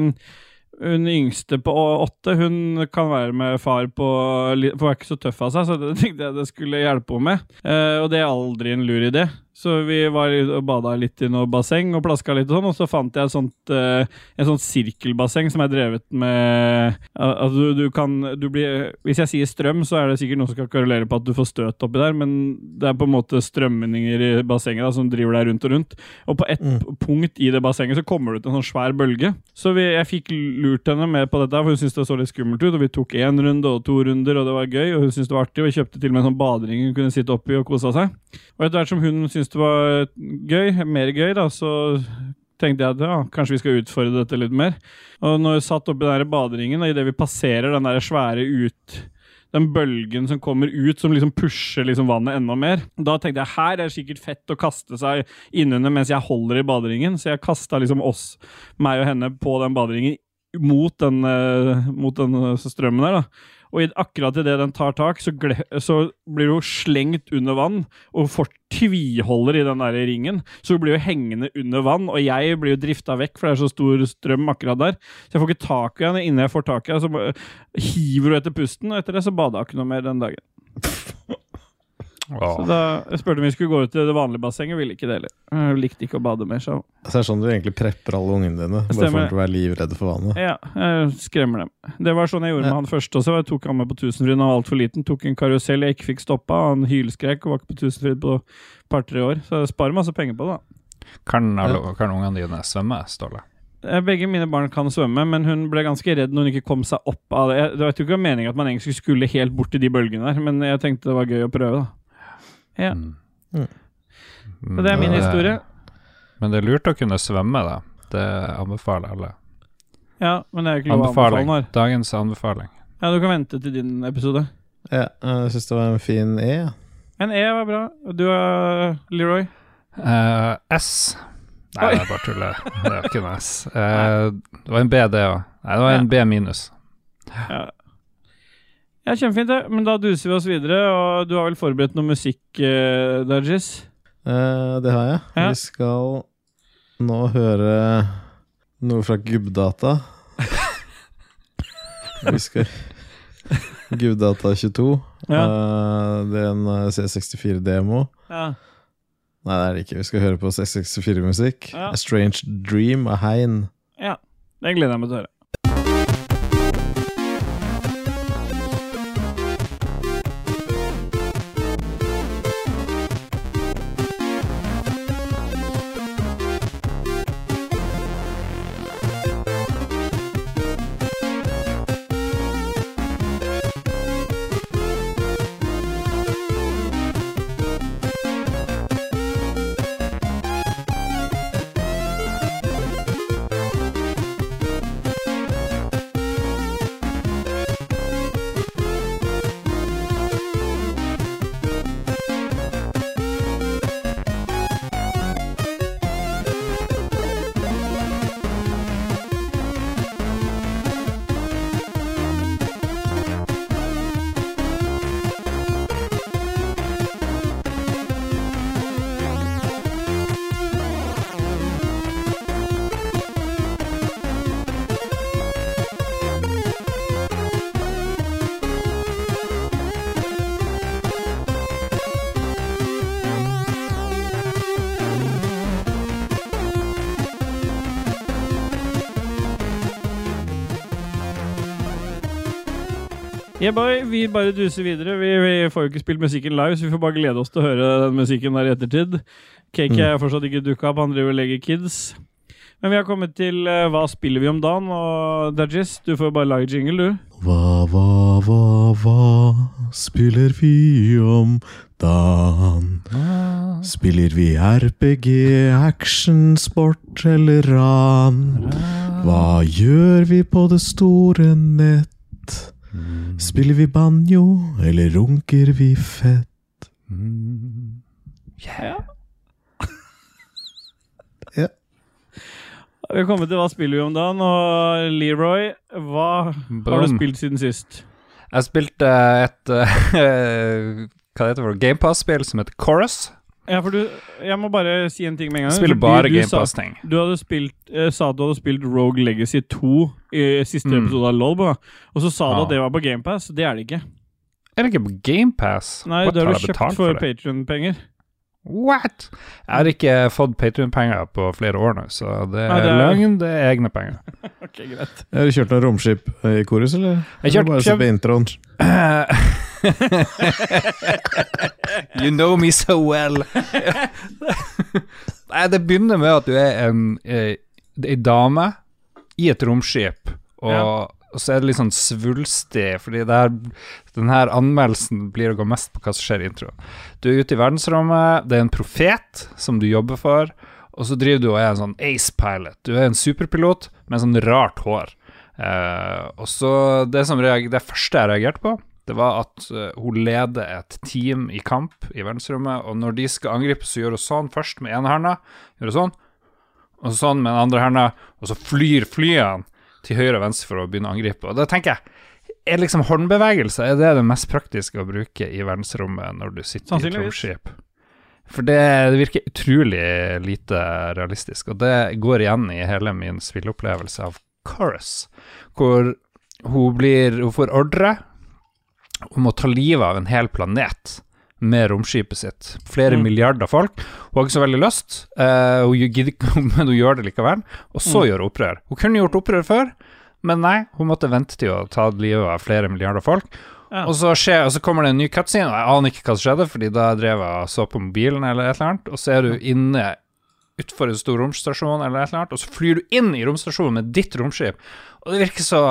hun yngste på å- åtte hun kan være med far på li- For hun er ikke så tøff av seg, så <laughs> det tenkte jeg det skulle hjelpe henne med. Eh, og det er aldri en lur idé. Så vi var i- og bada litt i noe basseng og plaska litt og sånn, og så fant jeg et sånt, eh, en sånt sirkelbasseng som er drevet med al- Altså, du, du kan du blir, Hvis jeg sier strøm, så er det sikkert noen som skal korrelere på at du får støt oppi der, men det er på en måte strømninger i bassenget da, som driver deg rundt og rundt. Og på ett Mm. punkt i det bassenget så kommer det ut en sånn svær bølge. Så vi, jeg fikk lurt henne med på dette, for hun syntes det så litt skummelt ut. Og vi tok én runde og to runder, og det var gøy, og hun syntes det var artig. Og vi kjøpte til og med en sånn badering hun kunne sitte oppi og kose seg. Og etter hvert som hun syntes det var gøy, mer gøy, da, så tenkte jeg at ja, kanskje vi skal utfordre dette litt mer. Og når vi satt oppi den der baderingen, og idet vi passerer den der svære ut den bølgen som kommer ut, som liksom pusher liksom vannet enda mer. Da tenkte jeg her er det sikkert fett å kaste seg innunder mens jeg holder i baderingen. Så jeg kasta liksom oss, meg og henne, på den baderingen mot den, eh, mot den eh, strømmen der. da. Og i, akkurat idet den tar tak, så, gle, så blir hun slengt under vann og får tviholder i den der ringen. Så hun blir jo hengende under vann, og jeg blir jo drifta vekk, for det er så stor strøm akkurat der. Så jeg får ikke tak i henne innen jeg får tak i henne. Så bare hiver hun etter pusten, og etter det så bada hun ikke noe mer den dagen. Så Åh. da jeg spurte om vi skulle gå ut til det vanlige bassenget, ville ikke det heller. Hun likte ikke å bade mer, sa hun. <laughs> Så det er sånn du egentlig prepper alle ungene dine. Bare for Stemmer. dem til å være livredde for vannet. Ja, jeg skremmer dem. Det var sånn jeg gjorde med Ja. han første også. Jeg tok han med på Tusenfryd. Han var altfor liten. Tok en karusell jeg ikke fikk stoppa. Han hylskrek og var ikke på Tusenfryd på et par-tre år. Så jeg sparer masse penger på det, da. Kan, alle- kan ungene dine svømme, Ståle? Eh, Begge mine barn kan svømme, men hun ble ganske redd når hun ikke kom seg opp av det. Jeg, det var ikke meningen at man egentlig skulle helt bort til de bølgene der, men jeg tenkte det var gøy å prøve, da. Ja. Mm. Mm. Så det er min Men eh, historie. Men det er lurt å kunne svømme, da. Det anbefaler alle. Ja, men det er jo ikke lov å anbefale Anbefaling. den her. Dagens anbefaling. Ja, du kan vente til din episode. Ja, jeg syns det var en fin E. ja. Men E var bra. Du er Leroy. Eh, S Nei, Oi. det er bare <laughs> tull. det. Det er ikke noe S. Eh, det var en B, det òg. Nei, det var en B minus. Ja, kjempefint det. Men da duser vi oss videre, og du har vel forberedt noe musikk, eh, Dajis? Eh, det har jeg. Ja. Vi skal nå høre noe fra Gubbdata. Vi skal Gubbdata 22. Eh, det er en eh, C64-demo. Ja. Nei, det er det ikke. Vi skal høre på C64-musikk. Ja. A Strange Dream av Hein. ja. Det gleder jeg meg til å høre. Yeah, boy. Vi bare duser videre. Vi, vi får jo ikke spilt musikken live, så vi får bare glede oss til å høre den musikken der i ettertid. Cake er fortsatt ikke dukka opp, han driver og legger kids. Men vi har kommet til eh, hva spiller vi om dagen, og Dajis, du får bare lage jingle, du. Hva, hva, hva, hva spiller vi om dagen? Spiller vi RPG, action, sport eller ran? Hva gjør vi på det store nett? Spiller vi banjo, eller runker vi fett? Mm. Vi har kommet til hva spiller vi om dagen, og Leroy, hva har du Boom. spilt siden sist? Jeg spilte et eh, <laughs> hva det heter for noe, GamePass-spill som heter Chorus. Ja, for du, jeg må bare si en ting med en gang. Spiller Du- bare du sa- GamePass-ting. Du hadde spilt, eh, sa at du hadde spilt Rogue Legacy 2 i siste Mm. episode av LOL, da. og så sa du Ja. at det var på GamePass. Det er det ikke. Er det ikke på GamePass? Nei, det har du kjøpt for Patrion-penger. What?! Jeg har ikke fått Patrion-penger på flere år nå, så det Nei, er, det er- løgn, det er egne penger. Ok, greit. Har du kjørt noe romskip eh, i korus, eller? Jeg kjørte- Eller bare så på introen. you know me so well. Nei, det begynner med at du er en, eh, ei dame i et romskip, og, Ja. og så er det litt sånn svulstig, fordi det her, den her anmeldelsen blir å gå mest på hva som skjer i introen. Du er ute i verdensrommet, det er en profet som du jobber for, og så driver du og er en sånn ace pilot. Du er en superpilot med sånn rart hår. Eh, og så det, som reag- det første jeg reagerte på, det var at eh, hun leder et team i kamp i verdensrommet, og når de skal angripe, så gjør hun sånn først med ene handa, gjør hun sånn, og så sånn med den andre handa, og så flyr flyene til høyre og venstre for å begynne å angripe. Og da tenker jeg, er liksom håndbevegelse er det det mest praktiske å bruke i verdensrommet når du sitter i et Sannsynligvis. romskip? For det, det virker utrolig lite realistisk, og det går igjen i hele min spilleopplevelse av Chorus, hvor hun, blir, hun får ordre om å ta livet av en hel planet med romskipet sitt. Flere Mm. milliarder folk. Hun har ikke så veldig lyst, eh, hun gidder ikke, <laughs> men hun gjør det likevel. Og så Mm. gjør hun opprør. Hun kunne gjort opprør før, men nei, hun måtte vente til å ta livet av flere milliarder folk. Ja. Og, så skjer, og så kommer det en ny cutscene, og jeg aner ikke hva som skjedde, fordi da drev jeg og så på mobilen eller et eller annet, og så er du inne utfor en stor romstasjon eller et eller annet, og så flyr du inn i romstasjonen med ditt romskip, og det virker så,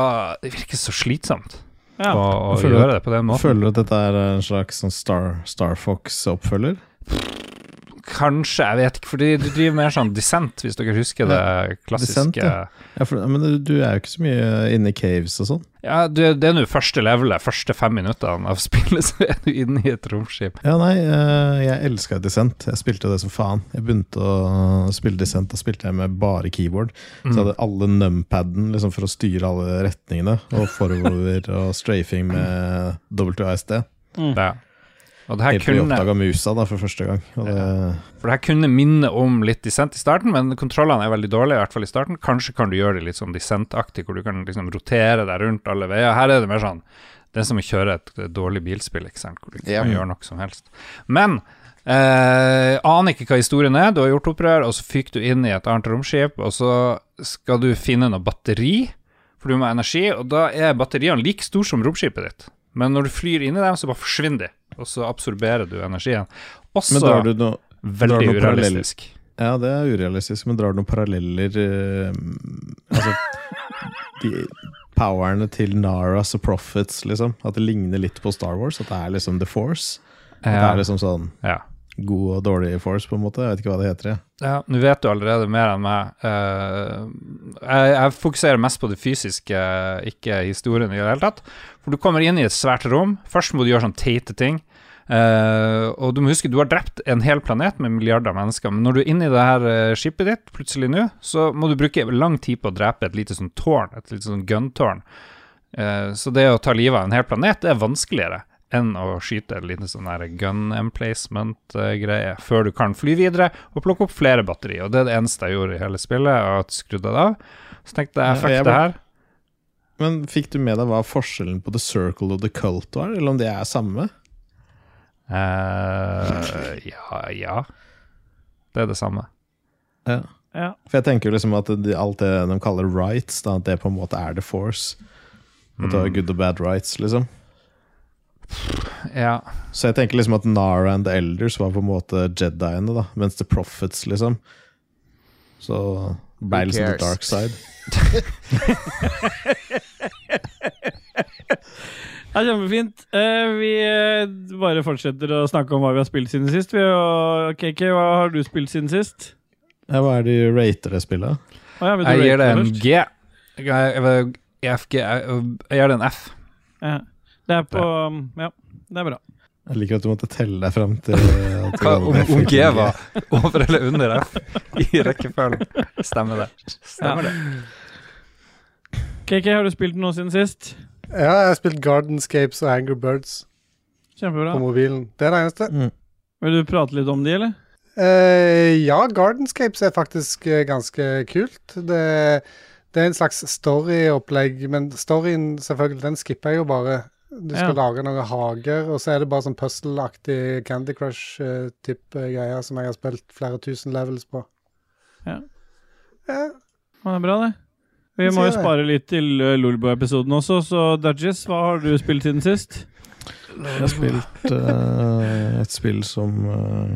det virker så slitsomt Ja. å, å Jeg føler- gjøre det på den måten. Føler du at dette er en slags sånn Star, Star Fox-oppfølger? Kanskje, jeg vet ikke, fordi du driver mer sånn dissent, hvis dere husker det klassiske Descent, ja. Ja, for- men du- du er jo ikke så mye inne i caves og sånn. Ja, du, det er nå første levelet, første fem minuttene av spillet, <laughs> så er du inne i et romskip. Ja, nei, eh, jeg elska Descent. Jeg spilte det som faen. Jeg begynte å spille Descent, da spilte jeg med bare keyboard. Så Mm. jeg hadde alle numpaden liksom, for å styre alle retningene, og forover og strafing med WASD. Ja. Og det her Helt til jeg kunne oppdaga musa da, for første gang. Og det, For det her kunne minne om litt dissent i starten, men kontrollene er veldig dårlige, i hvert fall i starten. Kanskje kan du gjøre det litt sånn dissentaktig, hvor du kan liksom rotere deg rundt alle veier. Her er det mer sånn Det er som å kjøre et dårlig bilspill, ikke sant, hvor du ikke Ja. kan gjøre noe som helst. Men eh, aner ikke hva historien er. Du har gjort opprør, og så fyker du inn i et annet romskip, og så skal du finne noe batteri, for du må ha energi, og da er batteriene like store som romskipet ditt. Men når du flyr inn i dem, så bare forsvinner de, og så absorberer du energien. Også men drar du noe drar Veldig noen urealistisk. Ja, det er urealistisk, men drar du noen paralleller eh, Altså de powerne til Naras og Prophets, liksom? At det ligner litt på Star Wars? At det er liksom The Force? At det Ja. er liksom sånn Ja. god og dårlig Force, på en måte? Jeg vet ikke hva det heter. jeg. Ja, Nå vet du allerede mer enn meg. Eh, jeg, jeg fokuserer mest på det fysiske, ikke historien i det hele tatt. For du kommer inn i et svært rom. Først må du gjøre sånn teite ting. Eh, og du må huske, du har drept en hel planet med milliarder av mennesker. Men når du er inne i det her eh, skipet ditt, plutselig nå, så må du bruke lang tid på å drepe et lite sånn tårn. Et lite sånn gun-tårn. Eh, så det å ta livet av en hel planet, det er vanskeligere enn å skyte en liten sånn her gun emplacement-greie før du kan fly videre og plukke opp flere batteri. Og det er det eneste jeg gjorde i hele spillet, og at skrudde det av. Så tenkte Ja, jeg, fuck jeg det ble- her. Men fikk du med deg hva forskjellen på The Circle og The Cult var, eller om det er samme? eh ja, ja. Det er det samme. Ja. For jeg tenker jo liksom at de, alt det de kaller rights, da, at det på en måte er The Force. At du Mm. har good og bad rights, liksom. Ja. Så jeg tenker liksom at Nara and the Elders var på en måte Jediene, da, mens The Prophets, liksom. Så ble Who liksom The cares? Dark Side. Ja, kjempefint. Eh, vi eh, bare fortsetter å snakke om hva vi har spilt siden sist. Vi, og KK, hva har du spilt siden sist? Ja, hva er det du rater det spillet? Å, ja, vil du Jeg gir rate det en først? G. Jeg, jeg, jeg, jeg, jeg gir det en F. Ja. Det er på um, Ja, det er bra. Jeg liker at du måtte telle deg fram til at du Hva, hadde om, det om fullt G med var over eller under F i rekkefølgen. Stemmer det. Stemmer det. KK, har du spilt noe siden sist? Ja, jeg har spilt Gardenscapes og Angry Birds. Kjempebra. på mobilen. Det er det eneste. <laughs> Mm. Vil du prate litt om de, eller? Eh, ja, Gardenscapes er faktisk eh, ganske kult. Det, det er en slags storyopplegg, men storyen selvfølgelig, den skipper jeg jo bare. Du skal lage noen hager, og så er det bare sånn puzzle-aktig Candy Crush-type greier som jeg har spilt flere tusen levels på. Ja. Eh, Ja, Det er bra, det. Vi Jeg må jo sier det. spare litt til eh, Lolbo-episoden også, så Dudges, hva har du spilt siden sist? Jeg har spilt eh, et spill som eh,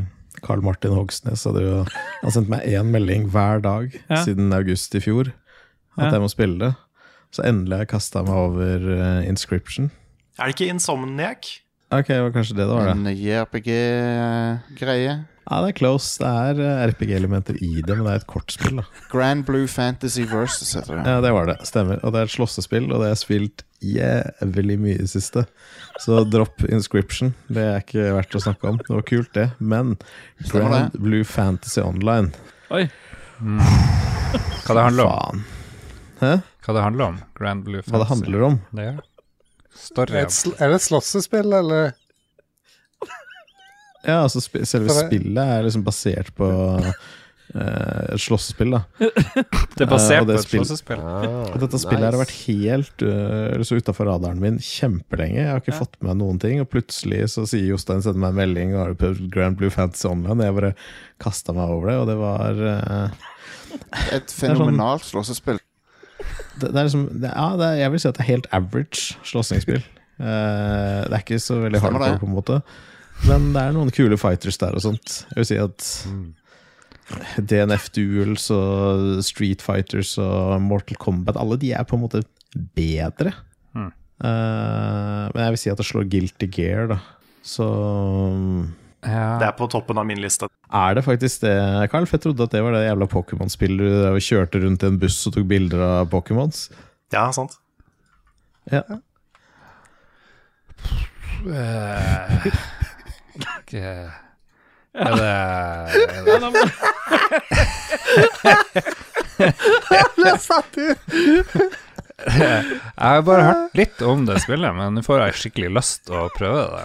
Carl Martin Hogsnes hadde jo Han sendte meg én melding hver dag Ja. siden august i fjor at Ja. jeg må spille det. Så endelig har jeg kasta meg over eh, Inscription. Er det ikke Insomniac? Mm. Ok, det var kanskje det det var, det. En JRPG-greie. Ja, det er close. Det er eh, RPG-elementer i det, men det er et kortspill. da Grand Blue Fantasy Versus heter det. Ja, det var det. Stemmer. Og det er et slåssespill, og det har jeg spilt jævlig mye i det siste. Så drop inscription. Det er ikke verdt å snakke om. Det var kult, det. Men Stemmer det. Grand Blue Fantasy Online Oi. Hva det handler om? Faen. Hva det handler om? Grand Blue Hva det handler om? Det er er, Story det et sl er det et slåssespill, <laughs> eller? Ja, altså sp Selve For det- spillet er liksom basert på eh, et slåssespill, da. Det er Eh, basert og det på et spill- slåssespill. Ah, Og dette spillet her har vært nice. helt øh, så utafor radaren min kjempelenge. Jeg har ikke Ja. fått med meg noen ting, og plutselig så sier Jostein sender meg en melding og har du prøvd Grand Blue Fantasy Online. Og jeg bare kasta meg over det, og det var øh, Et fenomenalt slåssespill. det, det er liksom det, Ja, det er, jeg vil si at det er helt average <laughs> slåssingsspill. Eh, det er ikke så veldig Stemmer hardcore, det. på en måte. Men det er noen kule fighters der og sånt. Jeg vil si at Mm. DNF Duels og Street Fighters og Mortal Kombat, alle de er på en måte bedre. Mm. Eh, men jeg vil si at det slår Guilty Gear, da. Så mm, Det Ja. er på toppen av min liste. er det faktisk det, Carl? For jeg trodde at det var det jævla Pokémon-spillet du drev og kjørte rundt i en buss og tok bilder av Pokémons. Ja, sant? Ja. Eh, <laughs> ikke- Er det, er <laughs> det Det satt du! Jeg har bare hørt litt om det spillet, men nå får jeg skikkelig lyst til å prøve det,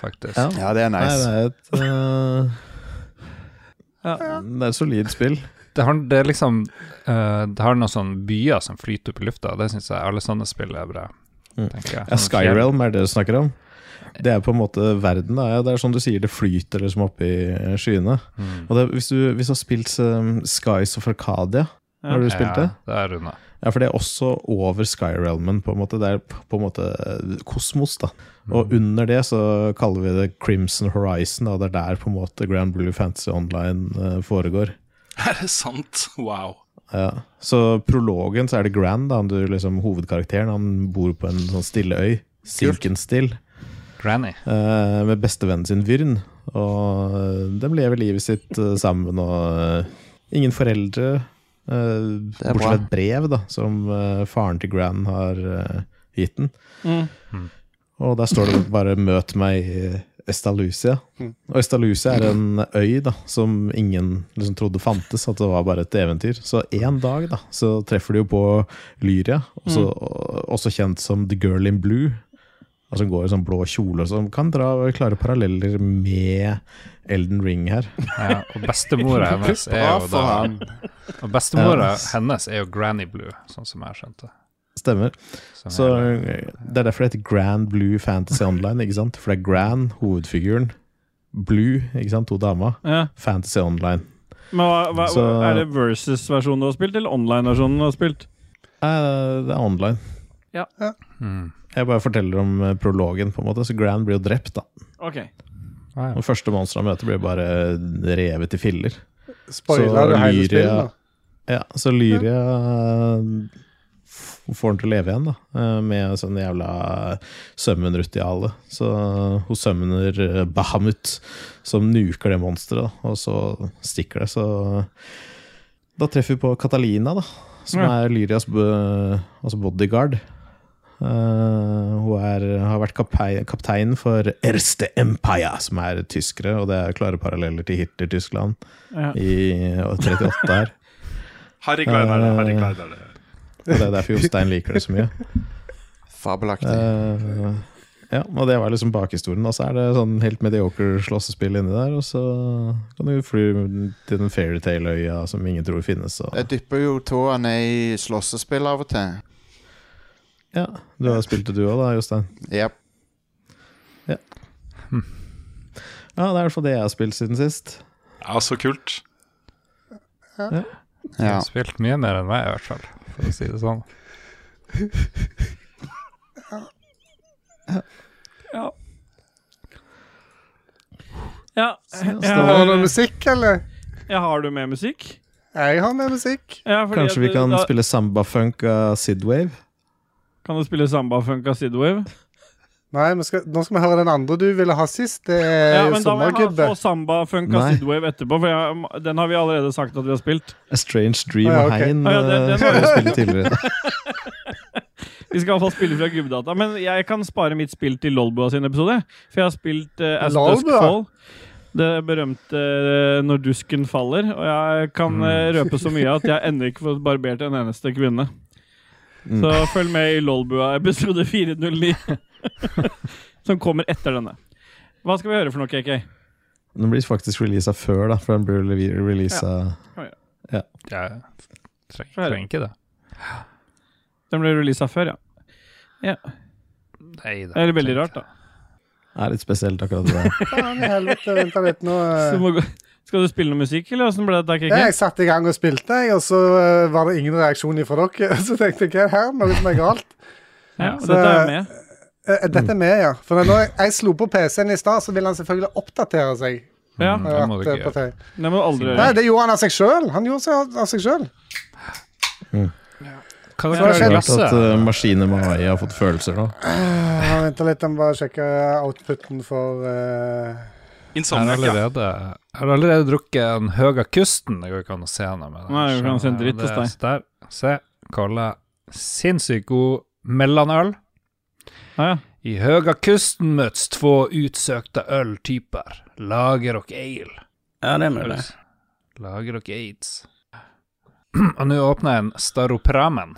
faktisk. Ja. Ja, det er Nei, nice. det er et øh, Ja. Det er et solid spill. Det, har, det er liksom eh, Det har noen sånne byer som flyter opp i lufta, og det syns jeg alle sånne spill er bra. Mm. tenker jeg. Ja, Sånn fjell- Skyrealm er det du snakker om. Det er på en måte verden. Da. Ja, det er sånn du sier, det flyter liksom opp i skyene. Mm. Og det, hvis, du, hvis du har spilt um, Skies of Arcadia, Ja. har du spilt det? Ja, det er runda. Ja, for det er også over Skyrealmen, på en måte. Det er på en måte eh, kosmos, da. Og under det så kaller vi det Crimson Horizon, og det er der på en måte Grand Blue Fantasy Online eh, foregår. Er det sant? Wow. Ja. Så prologen så er det Grand, da, han du liksom hovedkarakteren. Han bor på en sånn stille øy, Silkenstill, Granny. eh, med bestevennen sin Vyrn. Og eh, de lever livet sitt eh, sammen, og eh, ingen foreldre. Eh, Det er bortsett fra bra. et brev da, som eh, faren til Grand har eh, gitt den. Mm. Og der står det bare 'møt meg i Estalucia'. Mm. Og Estalucia er en øy da, som ingen liksom trodde fantes, at det var bare et eventyr. Så en dag da, så treffer de jo på Lyria, også, Mm. også kjent som The Girl in Blue. Og som går i sånn blå kjole og sånn. Kan dra klare paralleller med Elden Ring her. Ja, og <laughs> bestemora hennes er Bra jo for da han. <laughs> Og Ja. bestemora hennes er jo Granny Blue, sånn som jeg skjønte. Stemmer. Som Så eh, er- Det er derfor det heter Grand Blue Fantasy Online, ikke sant? For det er Grand, hovedfiguren. Blue, ikke sant? To damer. <laughs> Ja. Fantasy Online. Men hva, hva, Så- Er det versus-versjonen du har spilt, eller online-versjonen du har spilt? Nei, det er online. Mm. Jeg bare forteller om eh, prologen, på en måte. Så Grand blir jo drept, da. Ok. Ah, ja. Den første monsteren han møter, blir bare revet i filler. Så Spoila du hele Lyria- spillet nå? Ja, så Lyria eh, f- får han til å leve igjen, da. eh, Med sånn jævla sømmenrutiale. Så hun sømmer eh, Bahamut, som nuker det monsteret, da. Og så stikker det, så eh, Da treffer vi på Catalina, da. Som Ja. er Lyrias b- altså bodyguard. Eh, hun er, har vært kapei- kaptein for Erste Empire, som er tyskere, og det er klare paralleller til Hitler-Tyskland Ja. i 38 her. Harry Klein er det. Harry Klein er det. <laughs> Og det er derfor Jostein liker det så mye. Fabelaktig. Eh, Ja, og det var liksom bakhistorien. Og så er det sånn helt mediocre slåssespill inni der, og så kan du fly til den fairytale-øya som ingen tror finnes. Og, Jeg dypper jo tåa ned i slåssespill av og til. ja, du har spilt det du òg, da, Jostein? Yep. Ja, det er i hvert fall det jeg har spilt siden sist. Ja, så kult. Jeg Ja. har spilt mye mer enn meg, i hvert fall, for å si det sånn. Ja, Så- jeg, Har du har, noe musikk, eller? jeg har du med musikk? Jeg har med musikk. Ja, fordi at Kanskje vi du- kan da, spille samba-funk av Sidwave? Kan du spille samba funk av Sidwave? Nei, vi skal, nå skal vi høre den andre du ville ha sist. Det Eh, er Ja, jo men da må jeg sommergubbe. ha få samba funk av Nei. Sidwave etterpå, for jeg, den har vi allerede sagt at vi har spilt. A Strange Dream Å, ja, og ok. Hein Å, Ah, ja, den- eh, den skal har vi <laughs> spille tidligere. Vi skal iallfall spille fra Gubbdata. Men jeg kan spare mitt spill til Lolbua sin episode. For jeg har spilt eh, As Dusk Lolbua? Fall. Det berømte eh, 'Når dusken faller'. Og jeg kan eh, røpe så mye at jeg ennå ikke fått barbert en eneste kvinne. Mm. Så følg med i Lolbua episode 409, som kommer etter denne. Hva skal vi høre for noe, KK? Den blir faktisk releasa før, da, for den blir releasa Jeg trenger, Få høre. trenger ikke det. Den ble releasa før, ja. Nei, det Eller veldig rart, da. er litt spesielt, akkurat <laughs> det der. <laughs> Faen i helvete, vent litt nå. Så eh. må, gå- skal du spille noe musikk, eller åssen ble dette, Ja, KK? Jeg satte i gang og spilte, jeg, og så eh, var det ingen reaksjon fra dere. <laughs> Så tenkte jeg hva er det her? Noe som er galt. Ja, Så- dette er jo med. Eh, Dette er med, ja. For når jeg, jeg slo på PC-en i stad, så ville han selvfølgelig oppdatere seg. Ja, Mm. eh, Det må du at, eh, ikke på te- Det må du aldri Nei, gjøre. det gjorde han av seg sjøl. Han gjorde seg av seg sjøl. Hva Så er det for skjer det Rart klasse? at uh, maskiner med AI har fått følelser nå. Vent litt, Eh, jeg må bare sjekke outputen for eh, Jeg har Insomniac, ja. allerede, jeg har allerede drukket en Høga Kusten. Det går ikke an å se noe med det. Nei, det går ikke an å se en Så, dritt det- hos Der. Se. Kolla. Sinnssykt god mellomøl. Ja, ja. I Høga Kusten møts två utsökta öltyper. Lager och ale. Ja, det mener jeg. Lager och aids. <clears throat> Og nå åpner jeg en Staropramen.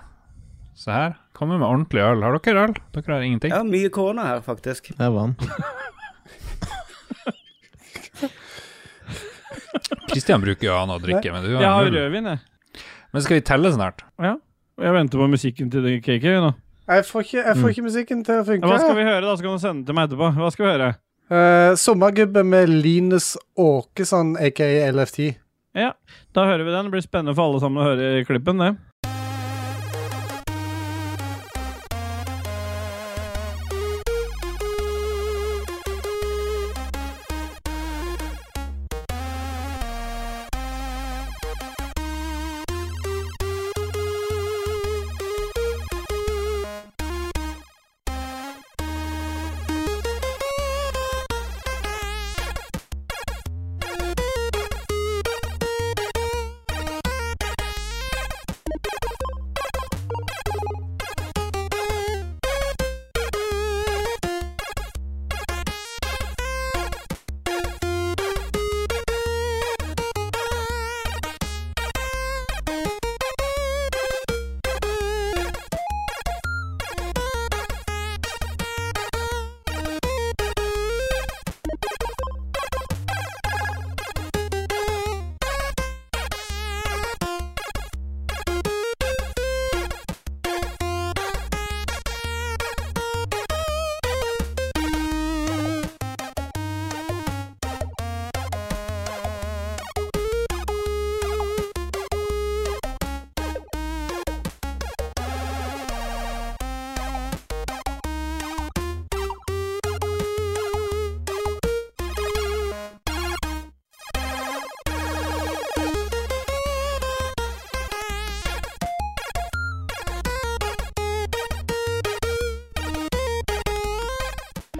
Se her. Kommer med ordentlig øl. Har dere øl? Dere har ingenting? Ja, mye korona her, faktisk. Det var han. Kristian bruker jo an å drikke, men du Jeg har har null. rødvin, jeg. Men skal vi telle snart? Og Jeg venter på musikken til det KK nå. jeg, får ikke, jeg får ikke musikken til å Mm. Ja, hva skal funke. vi høre, da? Så kan du sende den til meg etterpå. Hva skal vi høre? Eh, sommergubbe med Linus sånn Åkesson, aka LFT. Da hører vi den. Det blir spennende for alle sammen å høre i klippen, det.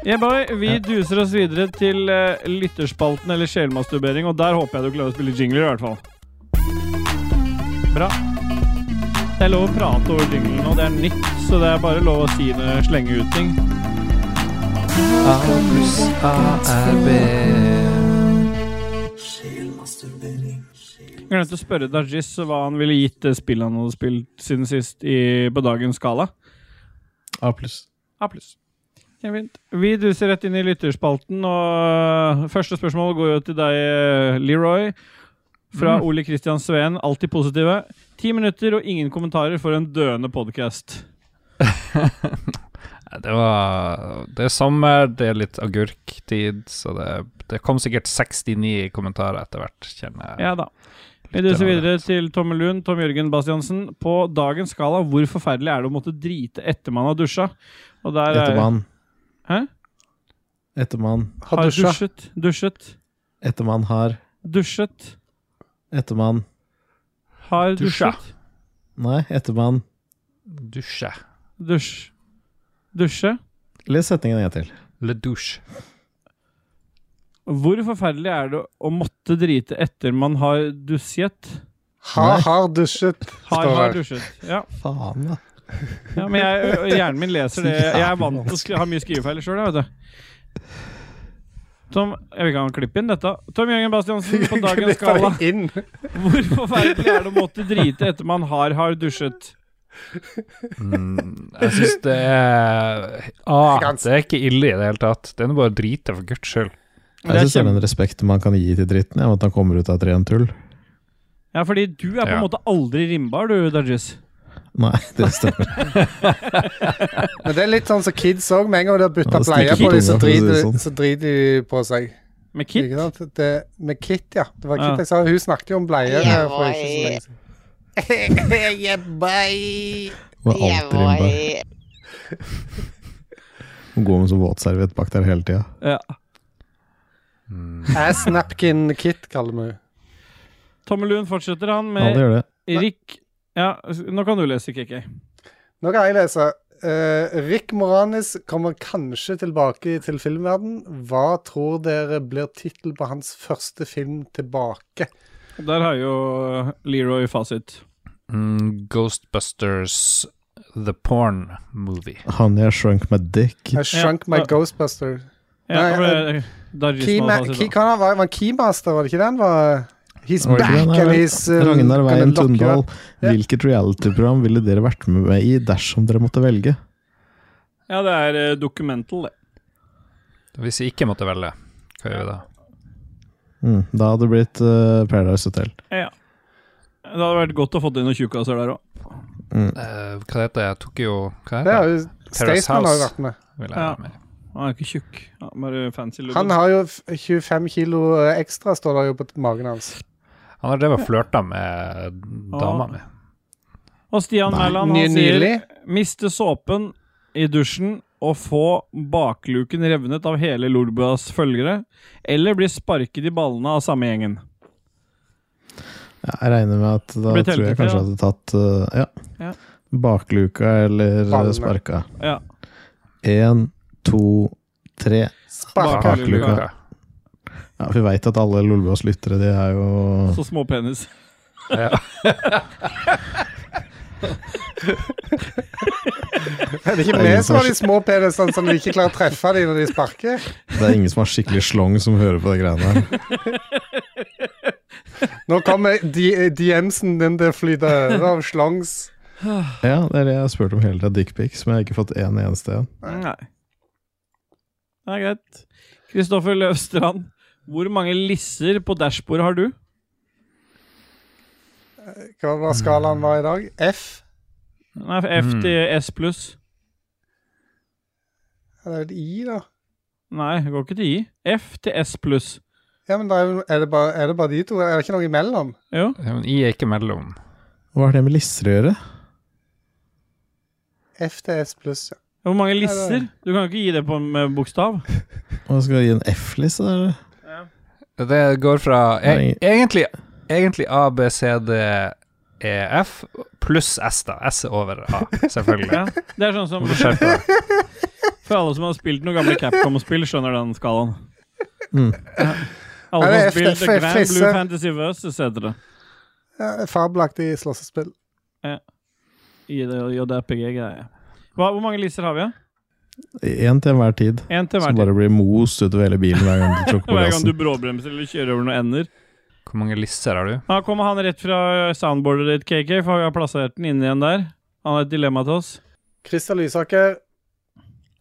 Yeah, boy, vi duser oss videre til eh, lytterspalten eller sjelmasturbering, og der håper jeg du klarer å spille jingler, i hvert fall. Bra. Det er lov å prate over jinglene, og det er nytt, så det er bare lov å si det, slenge ut ting. Jeg glemte å spørre Dajis hva han ville gitt det spillet han hadde spilt siden sist i, på dagens skala. A pluss. A pluss. Det er fint. Vi duser rett inn i lytterspalten, og eh, første spørsmål går jo til deg, eh, Leroy. Fra Mm. Ole Kristian Sveen, alltid positive. Ti minutter og ingen kommentarer for en døende podkast. Nei, Det var Det er sommer, det er litt agurktid, så det, det kom sikkert 69 kommentarer etter hvert, kjenner jeg. Ja da. Vi duser videre til Tomme Lund, Tom Jørgen Bastiansen. På dagens skala, hvor forferdelig er det å måtte drite etter man har dusja? Og der er- Ettermann. Hæ? Ettermann. Har Har dusja. dusjet, dusjet, Ettermann har. dusjet. Ettermann. Har Dusja. dusjet. Nei, ettermann. Dusje. Dusj. Dusje. Les setningen en gang til. Le douche. Hvor forferdelig er det å måtte drite etter man har dusjet? Har, har dusjet, Har, står har det. dusjet. Ja. Faen, da. ja, men jeg, ø- hjernen min leser det. Jeg er vant til å skri- ha mye skrivefeil sjøl, vet du. Tom, jeg vil ikke ha en klipp inn dette. Tom Jørgen <laughs> Bastiansen på dagens skala. Klipper inn. Hvor forferdelig er det å måtte drite etter man har har dusjet? Mm, jeg syns det er ah, <laughs> Det er ikke ille i det hele tatt. Det er nå bare å drite, for guds skyld. Det Jeg er syns det er den respekten man kan gi til dritten, ja, at han kommer ut av et rent tull. Ja, fordi du er på en Ja. måte aldri rimbar, du, Dajis. Nei, <laughs> det stemmer. Men det er litt sånn som kids òg. Med en gang de har bytta Ja, bleie på snikker dem, så tunga, for å si det driter sånn. så driter de på seg. Med kit. Ikke sant? Det, med Kit, ja. Det var Kit Ja. jeg sa. Hun snakket jo om bleier her for ikke så lenge siden. <laughs> Hun er alltid innbar. Hun går med sånn våtserviett bak der hele tida. Ja. Ass napkin Kit, kaller vi henne. Tommelun fortsetter han Ja, med det gjør det. Rick Ja, nå kan du lese, KK. Nå kan jeg lese. Eh, Rick Moranis kommer kanskje tilbake til filmverden. Hva tror dere blir tittel på hans første film tilbake? Der har jo Leroy fasit. Mm, Ghostbusters The Porn Movie. Honey, I shrunk my dick. I Shrunk My Ja. Ghostbuster. Ja, Nei, eh, for det- Dajis må ha Keyma, fasit. key, da. hva var, var han Keymaster, var det ikke den? Var, he's Var det back ikke den? Nei, and vel, he's uh, Ragnar gonna Veien lock you Tundal, up. Ja. hvilket reality-program ville dere vært med meg i dersom dere måtte velge? Ja, det er eh, documental, det. Hvis jeg ikke måtte velge, hva gjør vi da? Mm, da hadde det blitt eh, Paradise Hotel. Ja. Det hadde vært godt å få inn noen tjukkaser der òg. Eh, hva heter det? Tokyo Hva Det heter har det? jo Staysman har jo vært med. Vil jeg Ja. ha med. Han er ikke tjukk. Han er bare fancy looking. Han har jo f- 25 kilo eh, ekstra, står det jo på magen hans. Han har drevet og flørta med Ja. dama mi. Og Stian Mæland Ny- han sier Nylig. miste såpen i dusjen og få bakluken revnet av hele Lolbuas følgere, eller bli sparket i ballene av samme gjengen. Ja, jeg regner med at da Det blir tror jeg kanskje jeg hadde tatt eh, ja. Ja. bakluka eller eh, Ballene. sparka. Ja. Én, to, tre. Sparka. Bakluka. Bakluka. Ja, vi veit at alle Lolbås lyttere, de er jo Så små penis. Er det ikke vi som har de små penisene som vi ikke klarer å treffe de når de sparker? Det er ingen som har skikkelig slong som hører på de greiene her. Nå kommer D- DM-sen din til å flyte over av slangs. Ja, det er det jeg har spurt om hele tida, dickpics, men jeg har ikke fått én eneste en. Nei. Det er greit. Kristoffer Løvstrand, hvor mange lisser på dashbordet har du? Hva var skalaen var i dag? F? Nei, F Hmm. til S pluss. Er det et I, da? Nei, det går ikke til I. F til S pluss. Ja, men da er, jo- er, det bare, er det bare de to? Er det ikke noe imellom? Jo. Ja, men I er ikke mellom. Hva har det med lisser å gjøre? F til S pluss. ja. Hvor mange det er- lisser? Du kan jo ikke gi det på en med bokstav. Hva skal jeg gi en F-liste, eller? Det går fra Nei. e egentlig, egentlig A, B, C, D, E, F pluss S, da. S er over A, <laughs> selvfølgelig. Ja. Det er sånn som Skjerp deg. For alle som har spilt noen gamle Capcom-spill, skjønner den skalaen. Mm. Ja. Alle som Hmm. Nei, har det er spilt F- The F- Grand Fisse. Blue Fantasy Versus, heter det. Ja, Fabelaktig slåssespill. I det JRPG-greia. Hvor mange lisser har vi? Én til enhver tid. Én til Som hver tid. bare blir most utover hele bilen <laughs> hver gang du tråkker på Hver gang du gassen. bråbremser eller kjører over noen ender. Hvor mange lisser har du? Da kommer han rett fra soundboardet ditt, KK, for vi har plassert den inn igjen der. Han har et dilemma til oss. Christer Lysaker.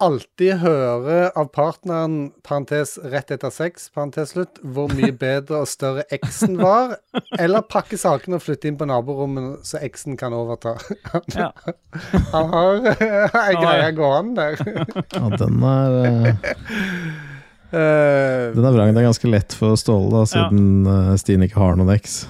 alltid hører av partneren, parentes rett etter sex, parentes slutt, hvor mye bedre og større eksen var, eller pakke sakene og flytte inn på naborommet så eksen kan overta. Han, Ja. han har ei greie gående der. Ja, den er, eh, Eh, den er vrang. Det er ganske lett for Ståle, da, siden eh, Stine ikke har noen <laughs> eks.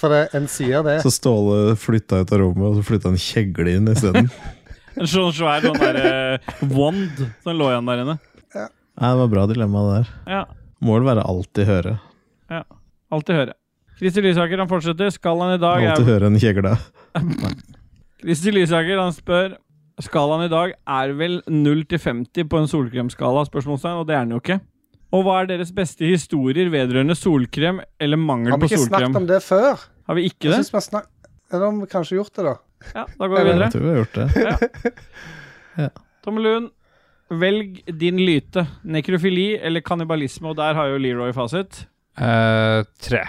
for det, en sier det. Så Ståle flytta ut av rommet, og så flytta en kjegle inn isteden. En sånn svær sånn der, eh, wand som lå igjen der inne. Nei, det var bra dilemma, det der. Ja, Må vel være alltid høre. alltid høre. Christer Lysaker han fortsetter. Skalaen i dag er Alltid høre en kjegle. Christer Lysaker han spør Skalaen i dag er vel 0 til 50 på en solkremskala, spørsmålstegn, og det er den jo ikke. Og hva er deres beste historier vedrørende solkrem eller mangel Har på vi ikke solkrem? snakket om det før? Har vi ikke Jeg det? synes vi har snak- Eller om vi kanskje har gjort det, da. Ja, da går vi Jeg Eller- videre. tror vi har gjort det. Tommelun, velg din lyte. Nekrofili eller kannibalisme, og der har jo Leroy fasit. Eh, tre.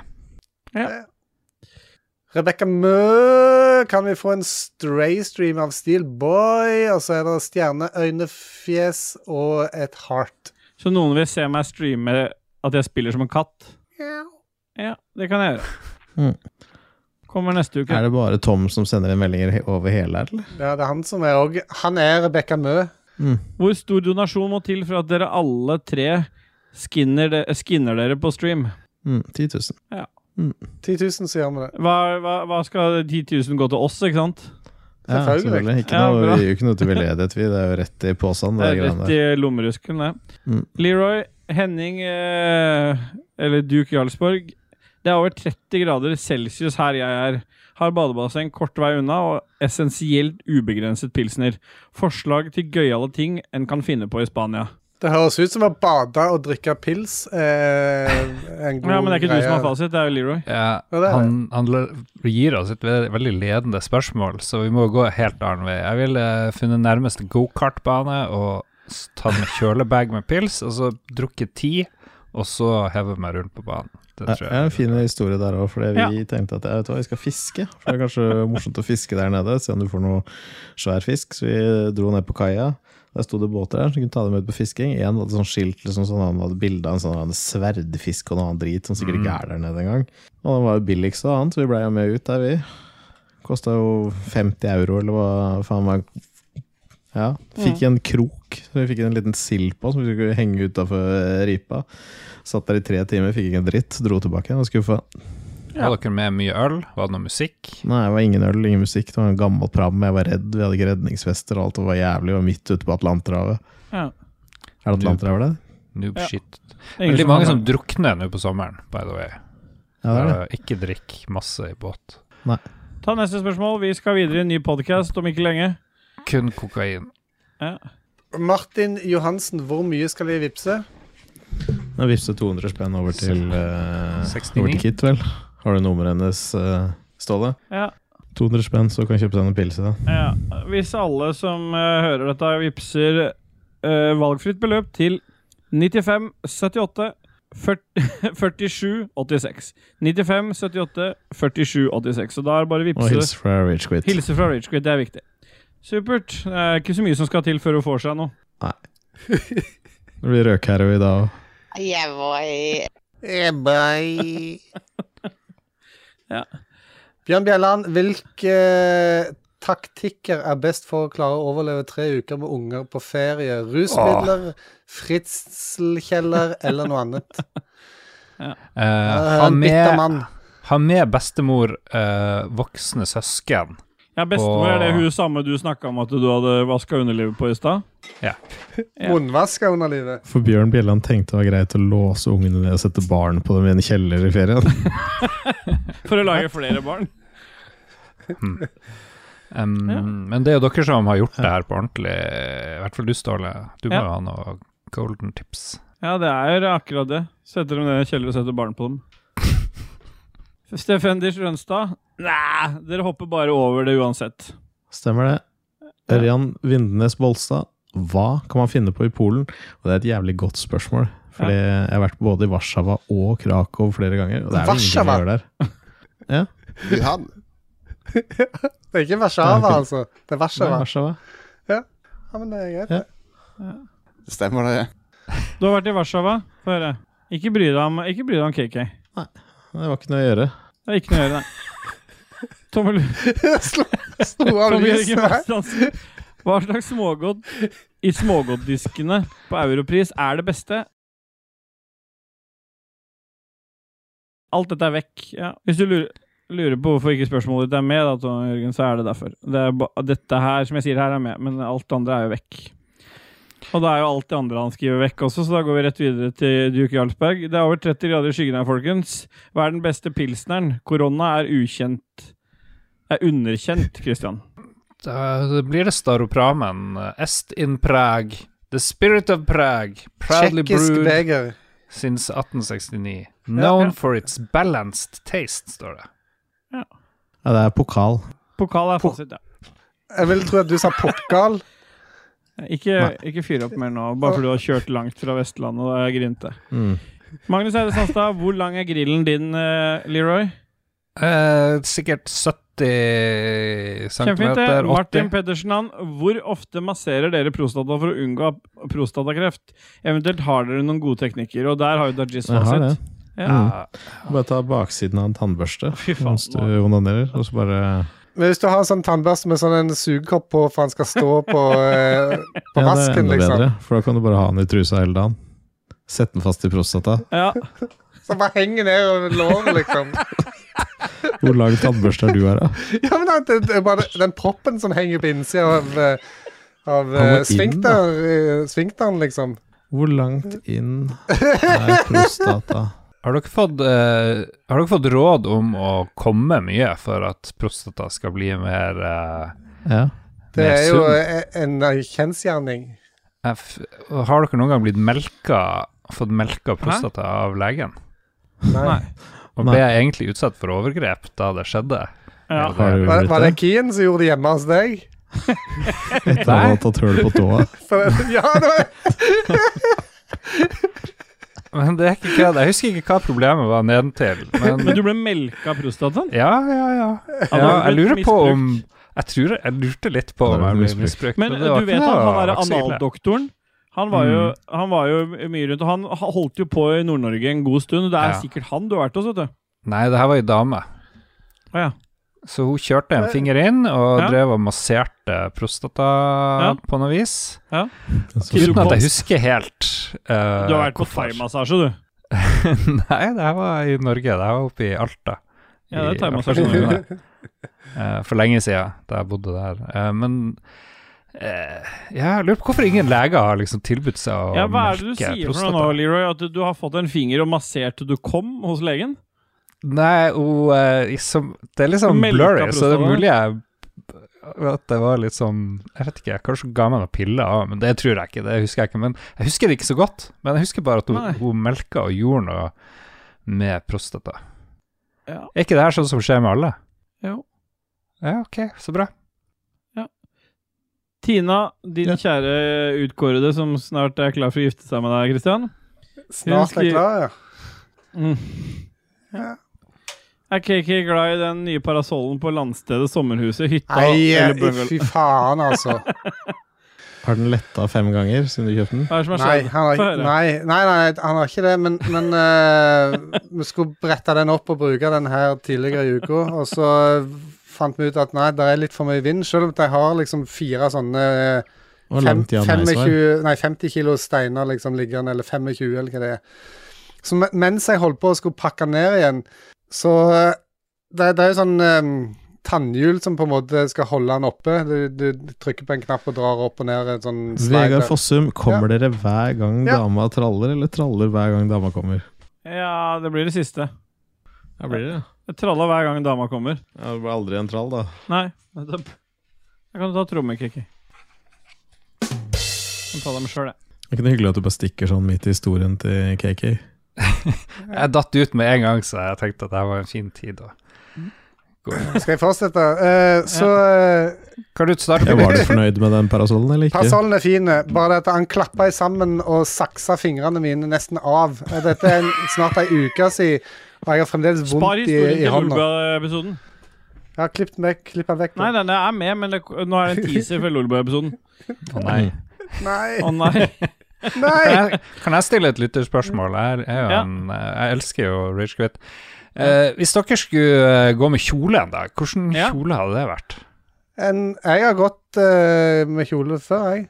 Rebekka Mø, kan vi få en stray stream av Steel Boy? Og så er det stjerne, øynefjes og et heart. Så noen vil se meg streame at jeg spiller som en katt. Ja, det kan jeg gjøre. Mm. Kommer neste uke. Er det bare Tom som sender inn meldinger he- over hele her, eller? Mm, Ja, det er han som er òg Han er Rebekka Mø. Hvor stor donasjon må til for at dere alle tre skinner, de, skinner dere på stream? Mm, 10 000. 10 000, så gjør vi det. Hva, hva, hva skal 10 000 gå til oss, ikke sant? Ja, Selvfølgelig. selvfølgelig. Ikke Ja, noe, bra. vi gir jo ikke noe til veldedighet, vi. Det er jo rett i posen. Det Det er greiene rett der. i lommerusken, det. Mm. Leroy, Henning eh, eller Duke Jarlsborg. Det er over 30 grader celsius her jeg er. Har badebasseng kort vei unna og essensielt ubegrenset pilsner. Forslag til gøyale ting en kan finne på i Spania. Det høres ut som å bade og drikke pils. Eh, en god Ja, Men det er ikke du greie. som har fasit, det er jo Leroy. Ja, Ja, det er han, han le- gir oss et ve- veldig ledende spørsmål, så vi må gå helt annen vei. Jeg ville funnet nærmeste gokartbane og s- tatt med kjølebag med pils, og så drukket ti, og så hevet meg rundt på banen. Det Ja, tror ja, en jeg. fin historie der òg, fordi vi tenkte at ja, vet du hva, vi skal fiske. For det er kanskje <laughs> morsomt å fiske der nede, se om du får noe svær fisk. Så vi dro ned på kaia. Der sto det båter der som kunne ta dem ut på fisking. En hadde sånn skilt liksom, sånn han hadde bilde av en sånn annen sverdfisk og noe annet drit som sikkert Mm. ikke er der nede engang. Og den var jo billigst av annet, så vi blei jo med ut der, vi. Kosta jo 50 euro, eller hva faen meg Ja. Fikk en krok, så vi fikk en liten sild på som vi skulle henge utafor ripa. Satt der i tre timer, fikk ikke en dritt. Dro tilbake igjen, var skuffa. Hadde dere med mye øl? Var det noe musikk? Nei, det var ingen øl, ingen musikk. Det var en gammel pram, jeg var redd. Vi hadde ikke redningsvester, og alt det var jævlig. Vi var midt ute på Atlanterhavet. Ja. Er det Atlanterhavet, det? Noob Ja. shit. Ingen Veldig mange som drukner nå på sommeren, by the way. Ja, det er det. Eh, Ikke drikk masse i båt. Ta neste spørsmål. Vi skal videre i en ny podkast om ikke lenge. Kun kokain. Martin Johansen, hvor mye skal vi vippse? Jeg vippset 200 spenn over til, eh, 69. over til Kit, vel. Har du nummeret hennes, eh, Ståle? Ja. 200 spenn, så kan jeg kjøpe deg noen pilser. da. Ja, hvis alle som eh, hører dette, vippser eh, valgfritt beløp til 95 78 <laughs> 40, 47 86. 95 78 47 86. Så da er det bare å Og vippse. hils fra Rage Quit. Hilse fra Ragequit, det er viktig. Supert. Det er ikke så mye som skal til før hun får seg noe. Det blir røkherre i dag òg. Yeah, boy. Eh, <laughs> Bjørn Bjelland, hvilke eh, taktikker er best for å klare å overleve tre uker med unger på ferie? Rusmidler, fritselkjeller eller noe <laughs> annet? Eh, ha, Uh, en bitter med, mann. ha med bestemor, eh, voksne søsken. Ja, Bestemor, Åh. er det hun samme du snakka om at du hadde vaska underlivet på i stad? Ja. Munnvask er underlivet. For Bjørn Bjelland tenkte det var greit å låse ungene ned og sette barn på dem i en kjeller i ferien. For å lage flere barn? Um, Ja. Hm. Men det er jo dere som har gjort det her på ordentlig, i hvert fall du, Ståle. Du må Ja. jo ha noe golden tips. Ja, det er akkurat det. Setter dem ned i kjeller og setter barn på dem. Stefendis Rønstad? Nei, dere hopper bare over det uansett. Stemmer det. Ørjan Vindenes Bolstad, hva kan man finne på i Polen? Og det er et jævlig godt spørsmål. Fordi jeg har vært både i Warszawa og Krakow flere ganger. Og det er jo ingenting å Warszawa? gjøre der. Ja. Wuhan. Det er ikke Warszawa, altså. Det Nei, er Warszawa. Warszawa. Ja, men det er greit. <laughs> Ja. Stemmer det? Du har vært i Warszawa. Få høre. Ikke bry deg om, ikke bry deg om KK. Det var ikke noe å gjøre. Det er ikke noe å gjøre, nei. Tommel Slo slo av Tom Jørgen lyset her. Vestlandsen. Hva slags smågodt i smågodtdiskene på Europris er det beste? Alt dette er vekk. Ja. Hvis du lurer, lurer på hvorfor ikke spørsmålet ditt er med, da, Tom Jørgen, så er det derfor. Det er ba dette her som jeg sier her, er med, men alt det andre er jo vekk. Og det er jo alt det andre han skriver vekk også, så da går vi rett videre til Duke Jarlsberg. Det er over 30 grader i skyggen her, folkens. Hva er den beste pilsneren? Korona er ukjent. Er underkjent, Christian. Da blir det Staropramen. eh, Est in Prague. The Spirit of Prague. Proudly Tsjekkisk brewed beger. since 1869. Ja, Known ja. for its balanced taste, står det. Ja, det er pokal. Pokal er fasit, ja. Jeg vil tro at du sa pokal. Ikke, ikke fyr opp mer nå, bare fordi du har kjørt langt fra Vestlandet og er grinte. Mm. Magnus Eide Sandstad, hvor lang er grillen din, eh, Leroy? Eh, sikkert Kjempefint. 70 det. centimeter, 80 Martin Pettersen, han, hvor ofte masserer dere prostata for å unngå ap- prostatakreft? Eventuelt har dere noen gode teknikker, og der har jo Dajis Jeg har det. fasit. Ja. Ja, Mm. Bare ta baksiden av en tannbørste Fy faen, mens du onanerer, og så bare Men hvis du har en sånn tannbørste med sånn en sugekopp på for han skal <laughs> stå på, Ja, eh, på det er vasken, enda liksom. bedre, for da kan du bare ha den i trusa hele dagen. Sette den fast i prostata. Ja. Så bare henger ned over låret, liksom. <laughs> Hvor lang tannbørste er du her, da? Ja, men det, det er bare den proppen som henger på innsida av, eh, Han av må eh, inn, sfinkter, eh, sfinkteren, liksom. Hvor langt inn <laughs> er prostata? Har dere, fått, eh, har dere fått råd om å komme mye for at prostata skal bli mer eh, Ja. Det mer er jo sunn? eh, en kjensgjerning. Jeg f- Har dere noen gang blitt melka, fått melka prostata av legen? Nei. Og Nei. ble jeg egentlig utsatt for overgrep da det skjedde? ja. Eller Har du Var, blitt var det det? Kien som gjorde det hjemme hos deg? Etter å ha tatt høl på <laughs> tåa? For, <laughs> ja, det var Men det er ikke kødd. Jeg husker ikke hva problemet var nedentil. <laughs> Men Men du ble melka av prostataen? ja, ja, ja. Han ja har jeg blitt lurer på om misbrukt. Jeg tror jeg lurte litt på Han om har jeg blitt ble misbrukt. Men det var du ikke Mm. vet at noe- han er var ikke så ille. analdoktoren. Han var, jo, han var jo mye rundt, og han holdt jo på i Nord-Norge en god stund. Det er Ja. Eh, sikkert han du har vært hos, vet du. Nei, det her var ei dame. Å ja. Så hun kjørte en finger inn og Ja. drev og masserte prostata Ja. på noe vis. Du Uten at kom- jeg husker helt eh, Du har vært på hvorfor. thaimassasje, du. <laughs> Nei, det her var i Norge. Det her var oppe i Alta. Ja, det er I thaimassasje. Alta kommune. Eh, for lenge siden, da jeg bodde der. Eh, men eh, ja, jeg lurer på hvorfor ingen leger har liksom tilbudt seg å Ja, hva er det du melke sier for noe nå, prostata. Leroy? At du har fått en finger og massert til du kom hos legen? Nei, hun eh, som, Det er litt sånn Melka blurry, så det er prostata. mulig jeg at det var litt sånn Jeg vet ikke, jeg kanskje hun ga meg noen piller av men det tror jeg ikke. Det husker jeg ikke, men jeg husker det ikke så godt. Men jeg husker bare at hun, Nei. hun melka og gjorde noe med prostata. Ja. Er ikke det her sånn som skjer med alle? Jo. Ja, ok, så bra. Tina, din Ja. kjære utkårede som snart er klar for å gifte seg med deg, Christian. snart jeg er klar, ja. Mm. Er KK glad i den nye parasollen på landstedet, sommerhuset, hytta Nei, eller eh, bungalow? fy faen, altså. Har den letta fem ganger siden du kjøpte den? Hva er det som har Nei, skjedd? han har, Få ikke- høre. nei, nei, nei, han har ikke det, men, men eh, vi skulle brette den opp og bruke den her tidligere i uka, og så fant vi ut at nei, det er litt for mye vind, selv om jeg har liksom fire sånne eh, Og fem, langt Jan Eidsvær. 25, nei, 50 kilo steiner liksom liggende, eller 25, eller hva det er. Så me- mens jeg holdt på å skulle pakke ned igjen, så eh, Det, det er jo sånn eh, tannhjul som på en måte skal holde den oppe. Du, du trykker på en knapp og drar opp og ned en sånn slider. Vegard Fossum, kommer dere hver gang Ja. dama traller, eller traller hver gang dama kommer? Ja, det blir det siste. Ja, blir det. Jeg tralla hver gang dama kommer. Ja, det blir aldri en trall, da. Nei, nettopp. Jeg kan ta trommekicker. Kan ta dem sjøl, jeg. Det er ikke noe hyggelig at du bare stikker sånn midt i historien til KK. Jeg datt ut med en gang, så jeg tenkte at det her var en fin tid. å gå inn. Skal jeg fortsette? Eh, så eh, Kan du starte? Ja, var du fornøyd med den parasollen, eller ikke? Parasollen er fin, eh, bare det at han klappa i sammen og saksa fingrene mine nesten av. Eh, Dette er en, snart ei uke siden, og jeg har fremdeles Spar vondt i, historien i til hånda. Ulba-episoden. Ja, klipp den vekk. Klipp den vekk. Nei, denne er med, men det, nå er det en teaser fra <laughs> Lolboy-episoden. Å nei. Nei. Å nei. Kan <laughs> Nei! jeg, kan jeg stille et lytterspørsmål? Jeg, er- jeg, er jo Ja. en, jeg elsker jo Rage Quit. Eh, hvis dere skulle eh, gå med kjole en dag, hvilken Ja. kjole hadde det vært? En, jeg har gått eh, med kjole før, jeg.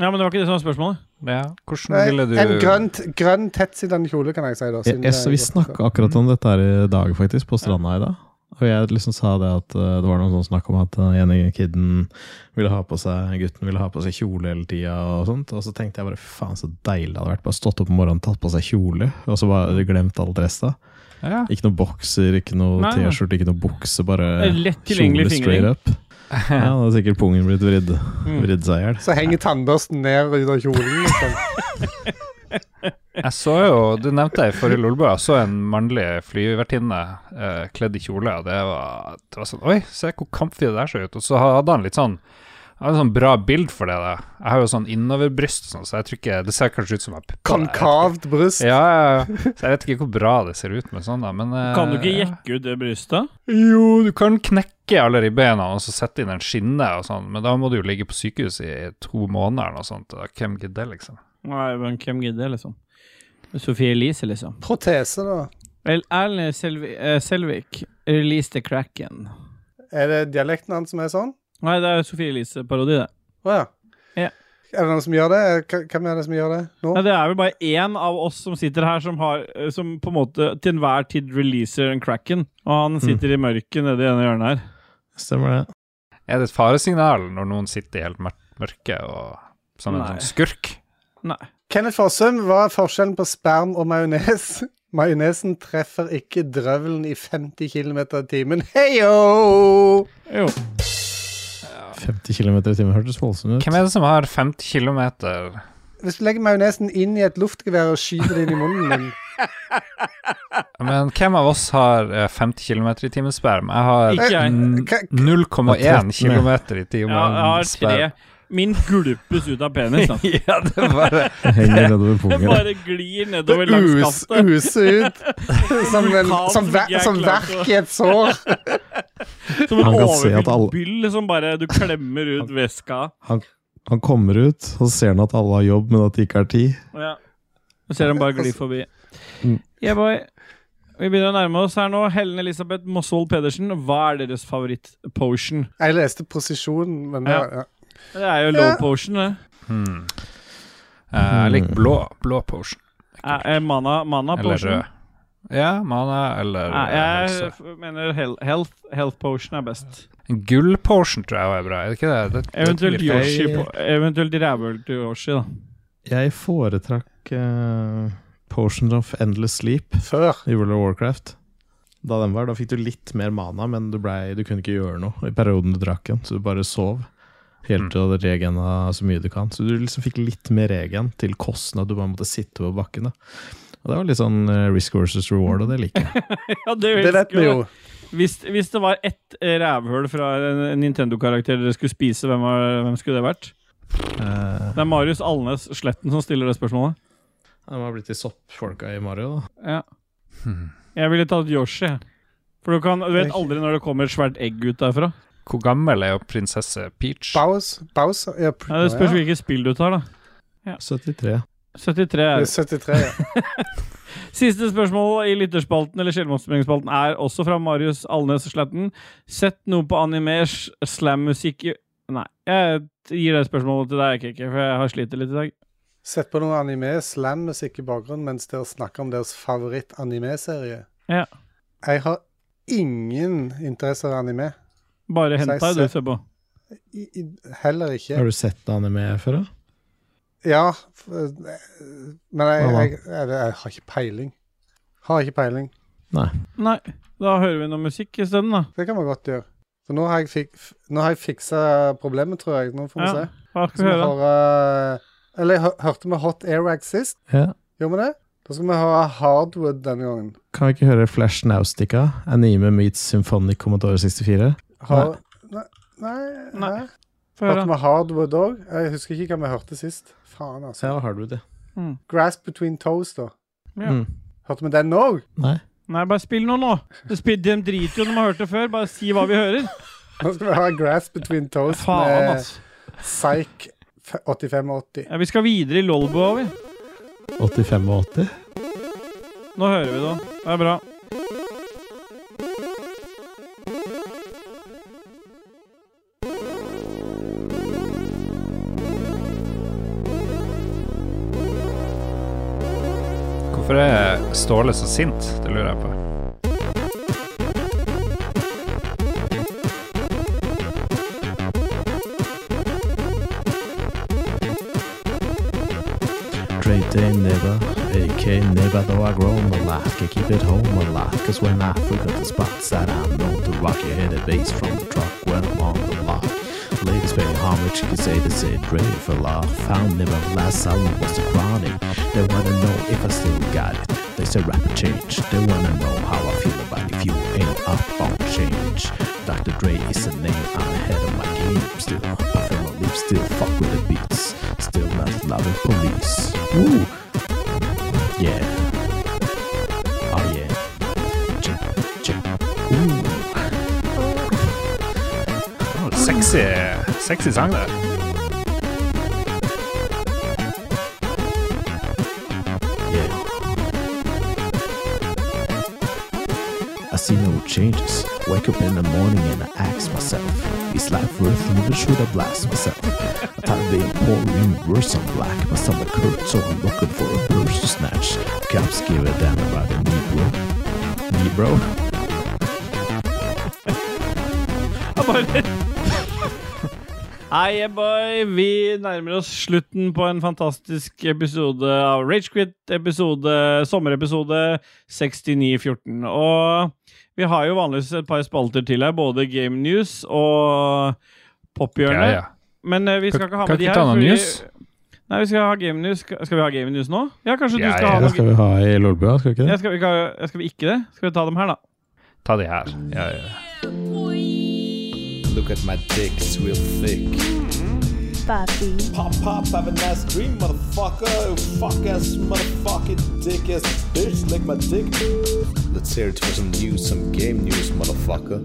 Ja, men det var ikke det som var spørsmålet. Ja, hvordan Nei, ville du En grønn, t- grønn tettsittende kjole, kan jeg si. da Jeg, siden jeg, så vi jeg har gått snakka akkurat Mm. om dette her i dag, faktisk, på stranda i dag. Og jeg liksom sa det at eh, det var noen sånn snakk om at den ene kiden ville ha på seg gutten ville ha på seg kjole hele tida og sånt. Og så tenkte jeg bare faen så deilig det hadde vært. Bare stått opp om morgenen, tatt på seg kjole, og så bare glemt alt resten. ja. Ikke noe bokser, ikke noe Nei, nei. T-skjorte, ikke noe bukse. Det Bare er lett tilgjengelig fingring. up. Ja, da hadde sikkert pungen blitt vridd, Mm. vridd seg i hjel. før. Så henger tannbørsten ned ut av kjolen. Liksom. Jeg så jo, du nevnte jeg i forrige Lolbua, jeg så en mannlig flyvertinne eh, kledd i kjole, og det var, det var sånn Oi, se hvor comfy det der så ut. Og så hadde han litt sånn han hadde sånn bra bild for det. da Jeg har jo sånn innoverbryst, og sånn, så jeg tror ikke Det ser kanskje ut som jeg pupper. jeg vet ikke. Konkavt bryst. Ja, ja, ja. Så jeg vet ikke hvor bra det ser ut med sånn, da, men eh, Kan du ikke jekke ut det brystet? Jo, du kan knekke alle ribbeina og så sette inn en skinne og sånn, men da må du jo ligge på sykehus i to måneder eller noe sånt. Da. Hvem gidder det, liksom? Nei, men hvem gidder, liksom? Sophie Elise, liksom. Protese, da. Vel, Erlend Selvi, eh, Selvik, release the cracken. Er det dialekten hans som er sånn? Nei, det er Sophie Elise-parodi, det. Å ja. Ja. Er det noen som gjør det? Hva- Hvem er det som gjør det nå? Nei, det er vel bare én av oss som sitter her, som, har, eh, som på en måte til enhver tid releaser en cracken. Og Mm. han sitter i mørket nede i ene hjørnet her. Stemmer det. Er det et faresignal når noen sitter i helt mør- mørke og som en Nei. sånn skurk? Kenneth Fossum, hva er forskjellen på sperm og majones? <laughs> Majonesen treffer ikke drøvelen i 50 km i timen. Heio! Jo. 50 km i timen hørtes voldsomt ut. Hvem er det som har 50 km? Hvis du legger majonesen inn i et luftgevær og skyter det inn i munnen din Men hvem av oss har eh, 50 km i timen sperm? Jeg har Ikke jeg. Mm. n- Hva- 0,1 km i Ja, timen jeg har tre. sperm. <laughs> Min gulpes ut av penis. <laughs> Da. Ja, det er bare Henger nedover Det pungen. <laughs> bare glir Det nedover langs us, kastet. user ut som, en, Vulkan som, som ver, ikke er som klar til å- verk i et sår. Som en Han kan se at overfylt alle- byll som bare du klemmer ut veska. Han kommer ut, og så ser han at alle har jobb, men at de ikke har tid. Ja. Og ser dem bare gli forbi. Mm. Yeah, boy. Vi begynner å nærme oss her nå. Helen Elisabeth Mosvold Pedersen, hva er deres favoritt-potion? Jeg leste prosesjonen, men det, Ja. ja. Det er jo low potion, det. hmm. Eh, Jeg liker blå, blå potion. Eh, eh, Mana, mana Eller potion. rød. Ja, mana eller Nei, eh, jeg helse. f- mener hel- health, health potion er best. En Gull potion tror jeg også er bra, er det ikke det? det, det Eventuelt blir feil. Yoshi, på, eventuelt rævøl til Yoshi, <laughs> da. Jeg foretrakk eh, Potion of Endless Sleep Før. i World of Warcraft. Da den var, da fikk du litt mer mana, men du, blei, du kunne ikke gjøre noe i perioden du drakk den, så du bare sov. Helt til du regena så mye du kan. Så du liksom fikk litt mer regen til kosten at du bare måtte sitte på bakken. Da. Og det var litt sånn eh, risk versus reward, og det liker jeg. Ja, det, Det vet vi jo. Hvis, hvis det var ett eh, rævhull fra en en Nintendo-karakter dere skulle spise, hvem, var, hvem skulle det vært? Eh, Det er Marius Alnes Sletten som stiller det spørsmålet. de har blitt de soppfolka i Mario, da. Ja. Hmm. Jeg ville tatt Yoshi. For du, kan, du vet aldri når det kommer et svært egg ut derfra. Hvor gammel er jo prinsesse Peach? Baus, Baus ja, pr- Ja, det spørs ja. hvilket spill du tar, da. 73. 73 Det er er 73, ja. Siste spørsmål i lytterspalten eller sjelmotsmeldingsspalten er også fra Marius Alnes Sletten. Sett noe på animers slammusikk i Nei, jeg gir det spørsmålet til deg, Kikki, for jeg har slitt litt i dag. Sett på noe anime slam-musikk i bakgrunnen mens dere snakker om deres favoritt-anime-serie. Ja. Jeg har ingen interesse av anime. Bare Så jeg hentai du ser- ser på. I, i, heller ikke. Har du sett anime før, da? Ja, f- eh, men jeg, Hva da? jeg, jeg, jeg har ikke peiling. Har ikke peiling. Nei, da hører vi noe musikk isteden, da. Det kan man godt gjøre. For nå har jeg, fik, f- nå har jeg fiksa problemet, tror jeg. Nå får vi Ja, se. Hva skal Så vi vi høre? har, eh, eller jeg hø- hørte vi Hot Air Rag sist? Ja. Gjorde vi det? Da skal vi høre Hardwood denne gangen. Kan vi ikke høre Flash Naustica? Anime meets Symphonic Commodore 64? Har, nei. Nei, nei. Nei. Få Hørte høre. vi Hardwood òg? Jeg husker ikke hva vi hørte sist. Faen, altså. Mm. Ja, Hardwood, ja. Grass Between Toes, da. Ja. Mm. <laughs> Hørte vi den òg? Nei. Nei, bare spill noe nå. Spill, de driter jo når de har hørt det før. Bare si hva vi hører. Nå skal vi ha Grass Between Toes Faen, med altså. Psych f- 8580. Ja, vi skal videre i Lolboa, vi. 85 og 80? Nå hører vi det. Det er bra. Hvorfor er Ståle så sint? Det lurer jeg på. Great day, neighbor. AK, neighbor, though I grown a lot. Can keep it home a lot. Cause when I frequent the spots that I know to rock, you hear the bass from the truck when I'm on the lot. Ladies pay homage, you can say the same brave for love. Found never last album was the chronic. They wanna know if I still got it. They say rapid change. They wanna know how I feel about if you ain't up on change. Dr. Dre is the name I'm ahead of my game. Still, I feel my lips still fuck with the beats. Still not loving police. Woo! Yeah. Oh yeah. Check, check. Ooh. Sexy, sexy sang, det. Yeah. I see no changes. Wake up in the morning and I ask myself, is life worth living? Should I blast myself? I thought they pouring worse on black. My stomach hurts, so I'm looking for a purse to snatch. Cops give a damn about the Negro. Negro? Ja, bare Hei, yeah, boy. Vi nærmer oss slutten på en fantastisk episode av Ragequit. Episode, sommerepisode 6914. Og vi har jo vanligvis et par spalter til her, både Game News og Ja, Pophjørnet. ja. Men eh, vi skal Kan- ikke ha kan med de her. ikke ta noen fordi- news? Nei, vi skal ha Game News. Skal skal vi ha Game News nå? Ja, kanskje Ja, du skal ja, ha det noe vi ha i Lolbua, skal vi ikke ja, skal, vi ikke ha, skal vi ikke det? Skal vi ta dem her, da? Ta de her. Ja, ja. Look at my dick, it's real thick. Pop pop, have a nice dream, motherfucker. Fuck ass, motherfucking dick ass bitch, lick my dick. Let's hear it for some news, some game news, motherfucker.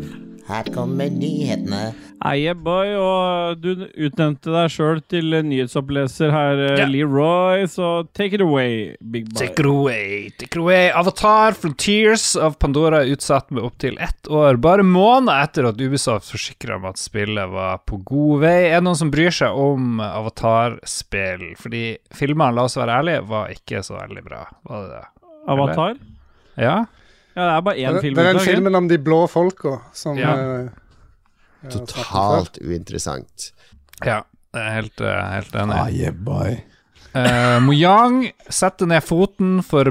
Her kommer nyhetene. Eie boy, og du utnevnte deg sjøl til nyhetsoppleser her, eh, Ja. Leroy, så take it away, big boy. Take it away, take it away. Avatar Frontiers av Pandora er utsatt med opptil ett år, bare måneder etter at Ubisoft forsikra om at spillet var på god vei. Er det noen som bryr seg om Avatar-spill? Fordi filmene, la oss være ærlige, var ikke så veldig bra. Var det det? Avatar? Ja? Ja, det er bare én Det, film. det er den ute, ikke? filmen om de blå folka som Ja. eh, jeg har snakket om før. Totalt uinteressant. Ja. Jeg er helt, eh, helt enig. Ah, yeah, boy. Eh, Mojang setter ned foten for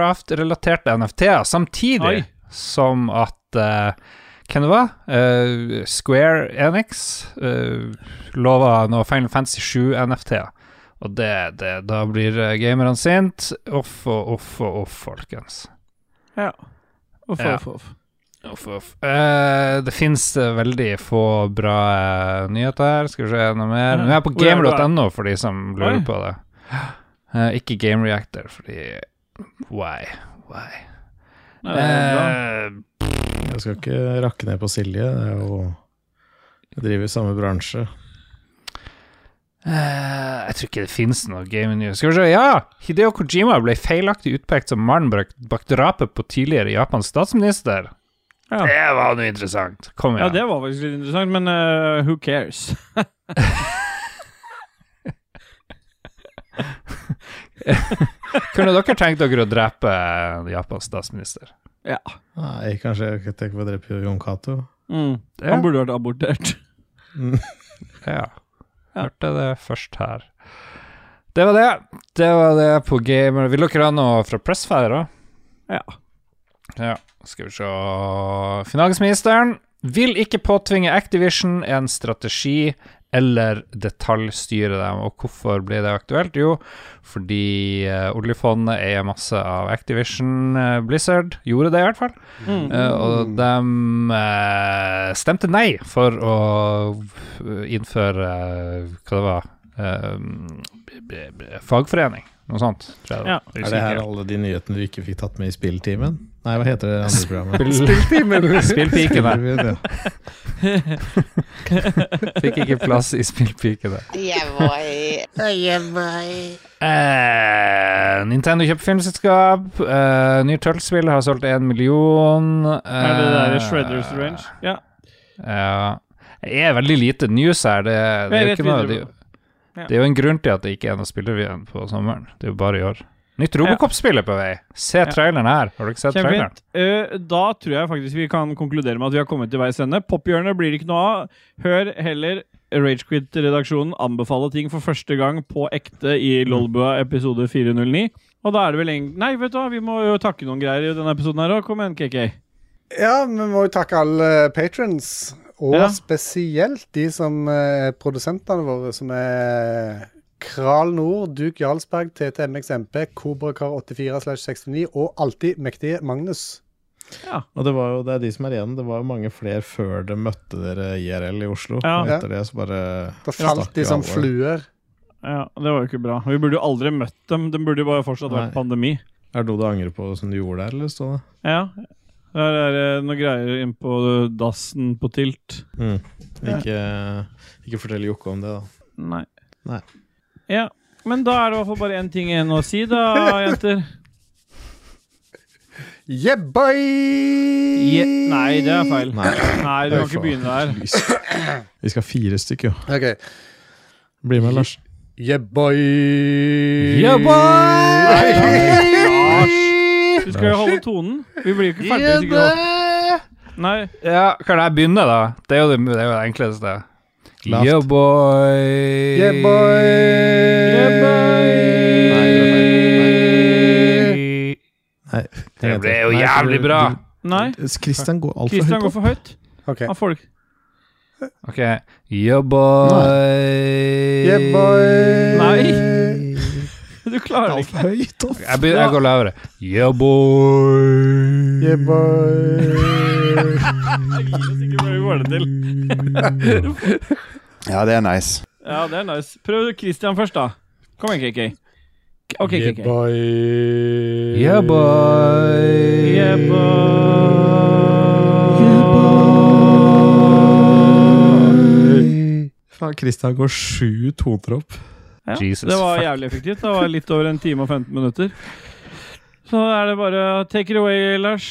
Minecraft-relaterte NFT-er, samtidig Oi. som at eh, Hvem det var? Eh, Square Enix uh, lova noe Final Fantasy 7-NFT-er. Og det, det, da blir eh, gamerne sint Off og off og off, folkens. Ja. Uff, Ja. uff, uff. Uff, uff. Eh, det fins veldig få bra eh, nyheter her. Skal vi se noe mer. Ja. Nå er jeg på Hvor er du gamer.no for de som lurer Oi. på det. Eh, ikke Game Reactor, fordi Why? Why? Nei, det er bra. Eh, Jeg skal ikke rakke ned på Silje. Det er jo Jeg driver i samme bransje. Eh, jeg tror ikke det finnes noe game news. Skal vi se, ja! Hideo Kojima ble feilaktig utpekt som mannen bak, bak drapet på tidligere Japans statsminister. Ja. Det var noe interessant. Kom ja, igjen. det var faktisk litt interessant, men eh, who cares? <laughs> Kunne dere tenkt dere å drepe Japans statsminister? Nei, kanskje jeg ikke tenker på å drepe Jon Cato. Mm. Ja. Han burde vært abortert. Ja. Hørte det først her. Det var det. Det var det på gamer. Vil dere ha noe fra Pressfair, da? Ja. Ja, skal vi se Finansministeren vil ikke påtvinge Activision en strategi eller detaljstyre dem. Og hvorfor blir det aktuelt? Jo, fordi eh, oljefondet eier masse av Activision eh, Blizzard. Gjorde det, i hvert fall. Mm. Eh, og de eh, stemte nei for å innføre eh, hva det var eh, b- b- b- fagforening. Noe sånt. Tror jeg det Ja. var. Er det her Usikker. alle de nyhetene du ikke fikk tatt med i spilltimen? Nei, hva heter det andre programmet? <laughs> Spilltimen. Spillpikene. Spilltimen, ja. <laughs> Fikk ikke plass i spillpikene. Eh, Nintendo kjøper filmselskap. Eh, nye Turtles-spill har solgt én million. Eh, <laughs> Er det det der Shredders Range? Ja. Ja. Det Eh, er veldig lite news her. Det, det, er, jo Jeg vet ikke noe, videre det, er jo- Ja. det er jo en grunn til at det ikke er noe spillerevyen på sommeren. Det er jo bare i år. Nytt Robocop-spill er på vei. Se traileren her. Har du ikke sett traileren? Kjempefint. Eh, da tror jeg faktisk vi kan konkludere med at vi har kommet til veis ende. Pophjørnet blir det ikke noe av. Hør heller Ragequit-redaksjonen anbefale ting for første gang på ekte i Lolbua episode 409. Og da er det vel en... Nei, vet du hva, vi må jo takke noen greier i denne episoden her òg. Kom igjen, KK. Ja, vi må jo takke alle patrons, og Ja. spesielt de som eh, er produsentene våre, som er Kral Nord, Duke Jarlsberg, TTMXMP, Kobrakar84-69 og alltid mektige Magnus. Og det, var jo, det er de som er igjen. Det var jo mange flere før det møtte dere IRL i Oslo. Ja. Og etter det så bare Da falt de stakk jo som alle. fluer. Ja, det var jo ikke bra. Vi burde jo aldri møtt dem. De burde jo bare fortsatt vært Nei. pandemi. Er det noe du angrer på som du gjorde der, eller stå det? Ja. Der er det noen greier inn på dassen på Tilt. Mm. Ikke, ikke fortell Jokke om det, da. Nei. Nei. Ja, men da er det i hvert fall bare én ting igjen å si, da, jenter. Yeah, boy! Je nei, det er feil. Nei, Nei. du kan Oi, ikke faen. begynne der. Vi skal ha fire stykker, jo. Ok. Bli med, Lars. Yeah, boy! Yeah, Lars, du skal jo holde tonen. Vi blir jo ikke ferdige hvis ikke du holder Nei. Ja, kan jeg begynne, da? Det er jo det, det, er jo det enkleste. Lavt. Yeah, boy. Yeah, boy! Nei, det var feil. Nei. Nei. Det ble jo Nei, for jævlig du- bra. Nei. du- Christian går altfor Christian høyt går opp. for høyt. Ok. Han får det ikke. Ok. Yeah, boy. Yeah, boy! Nei. <laughs> Du klarer det ikke. Altfor høyt opp. Jeg, begynner, jeg går lavere. Yeah, boy. Yeah, boy! Ja, det er nice. Ja, det er nice. Prøv Christian først, da. Kom igjen, KK. OK, Yeah, KK. boy! Yeah, boy. Yeah, Faen, Christian går sju toner opp. Ja, Jesus det var fuck. jævlig effektivt. Det var litt over en time og 15 minutter. Så da er det bare take it away, Lars.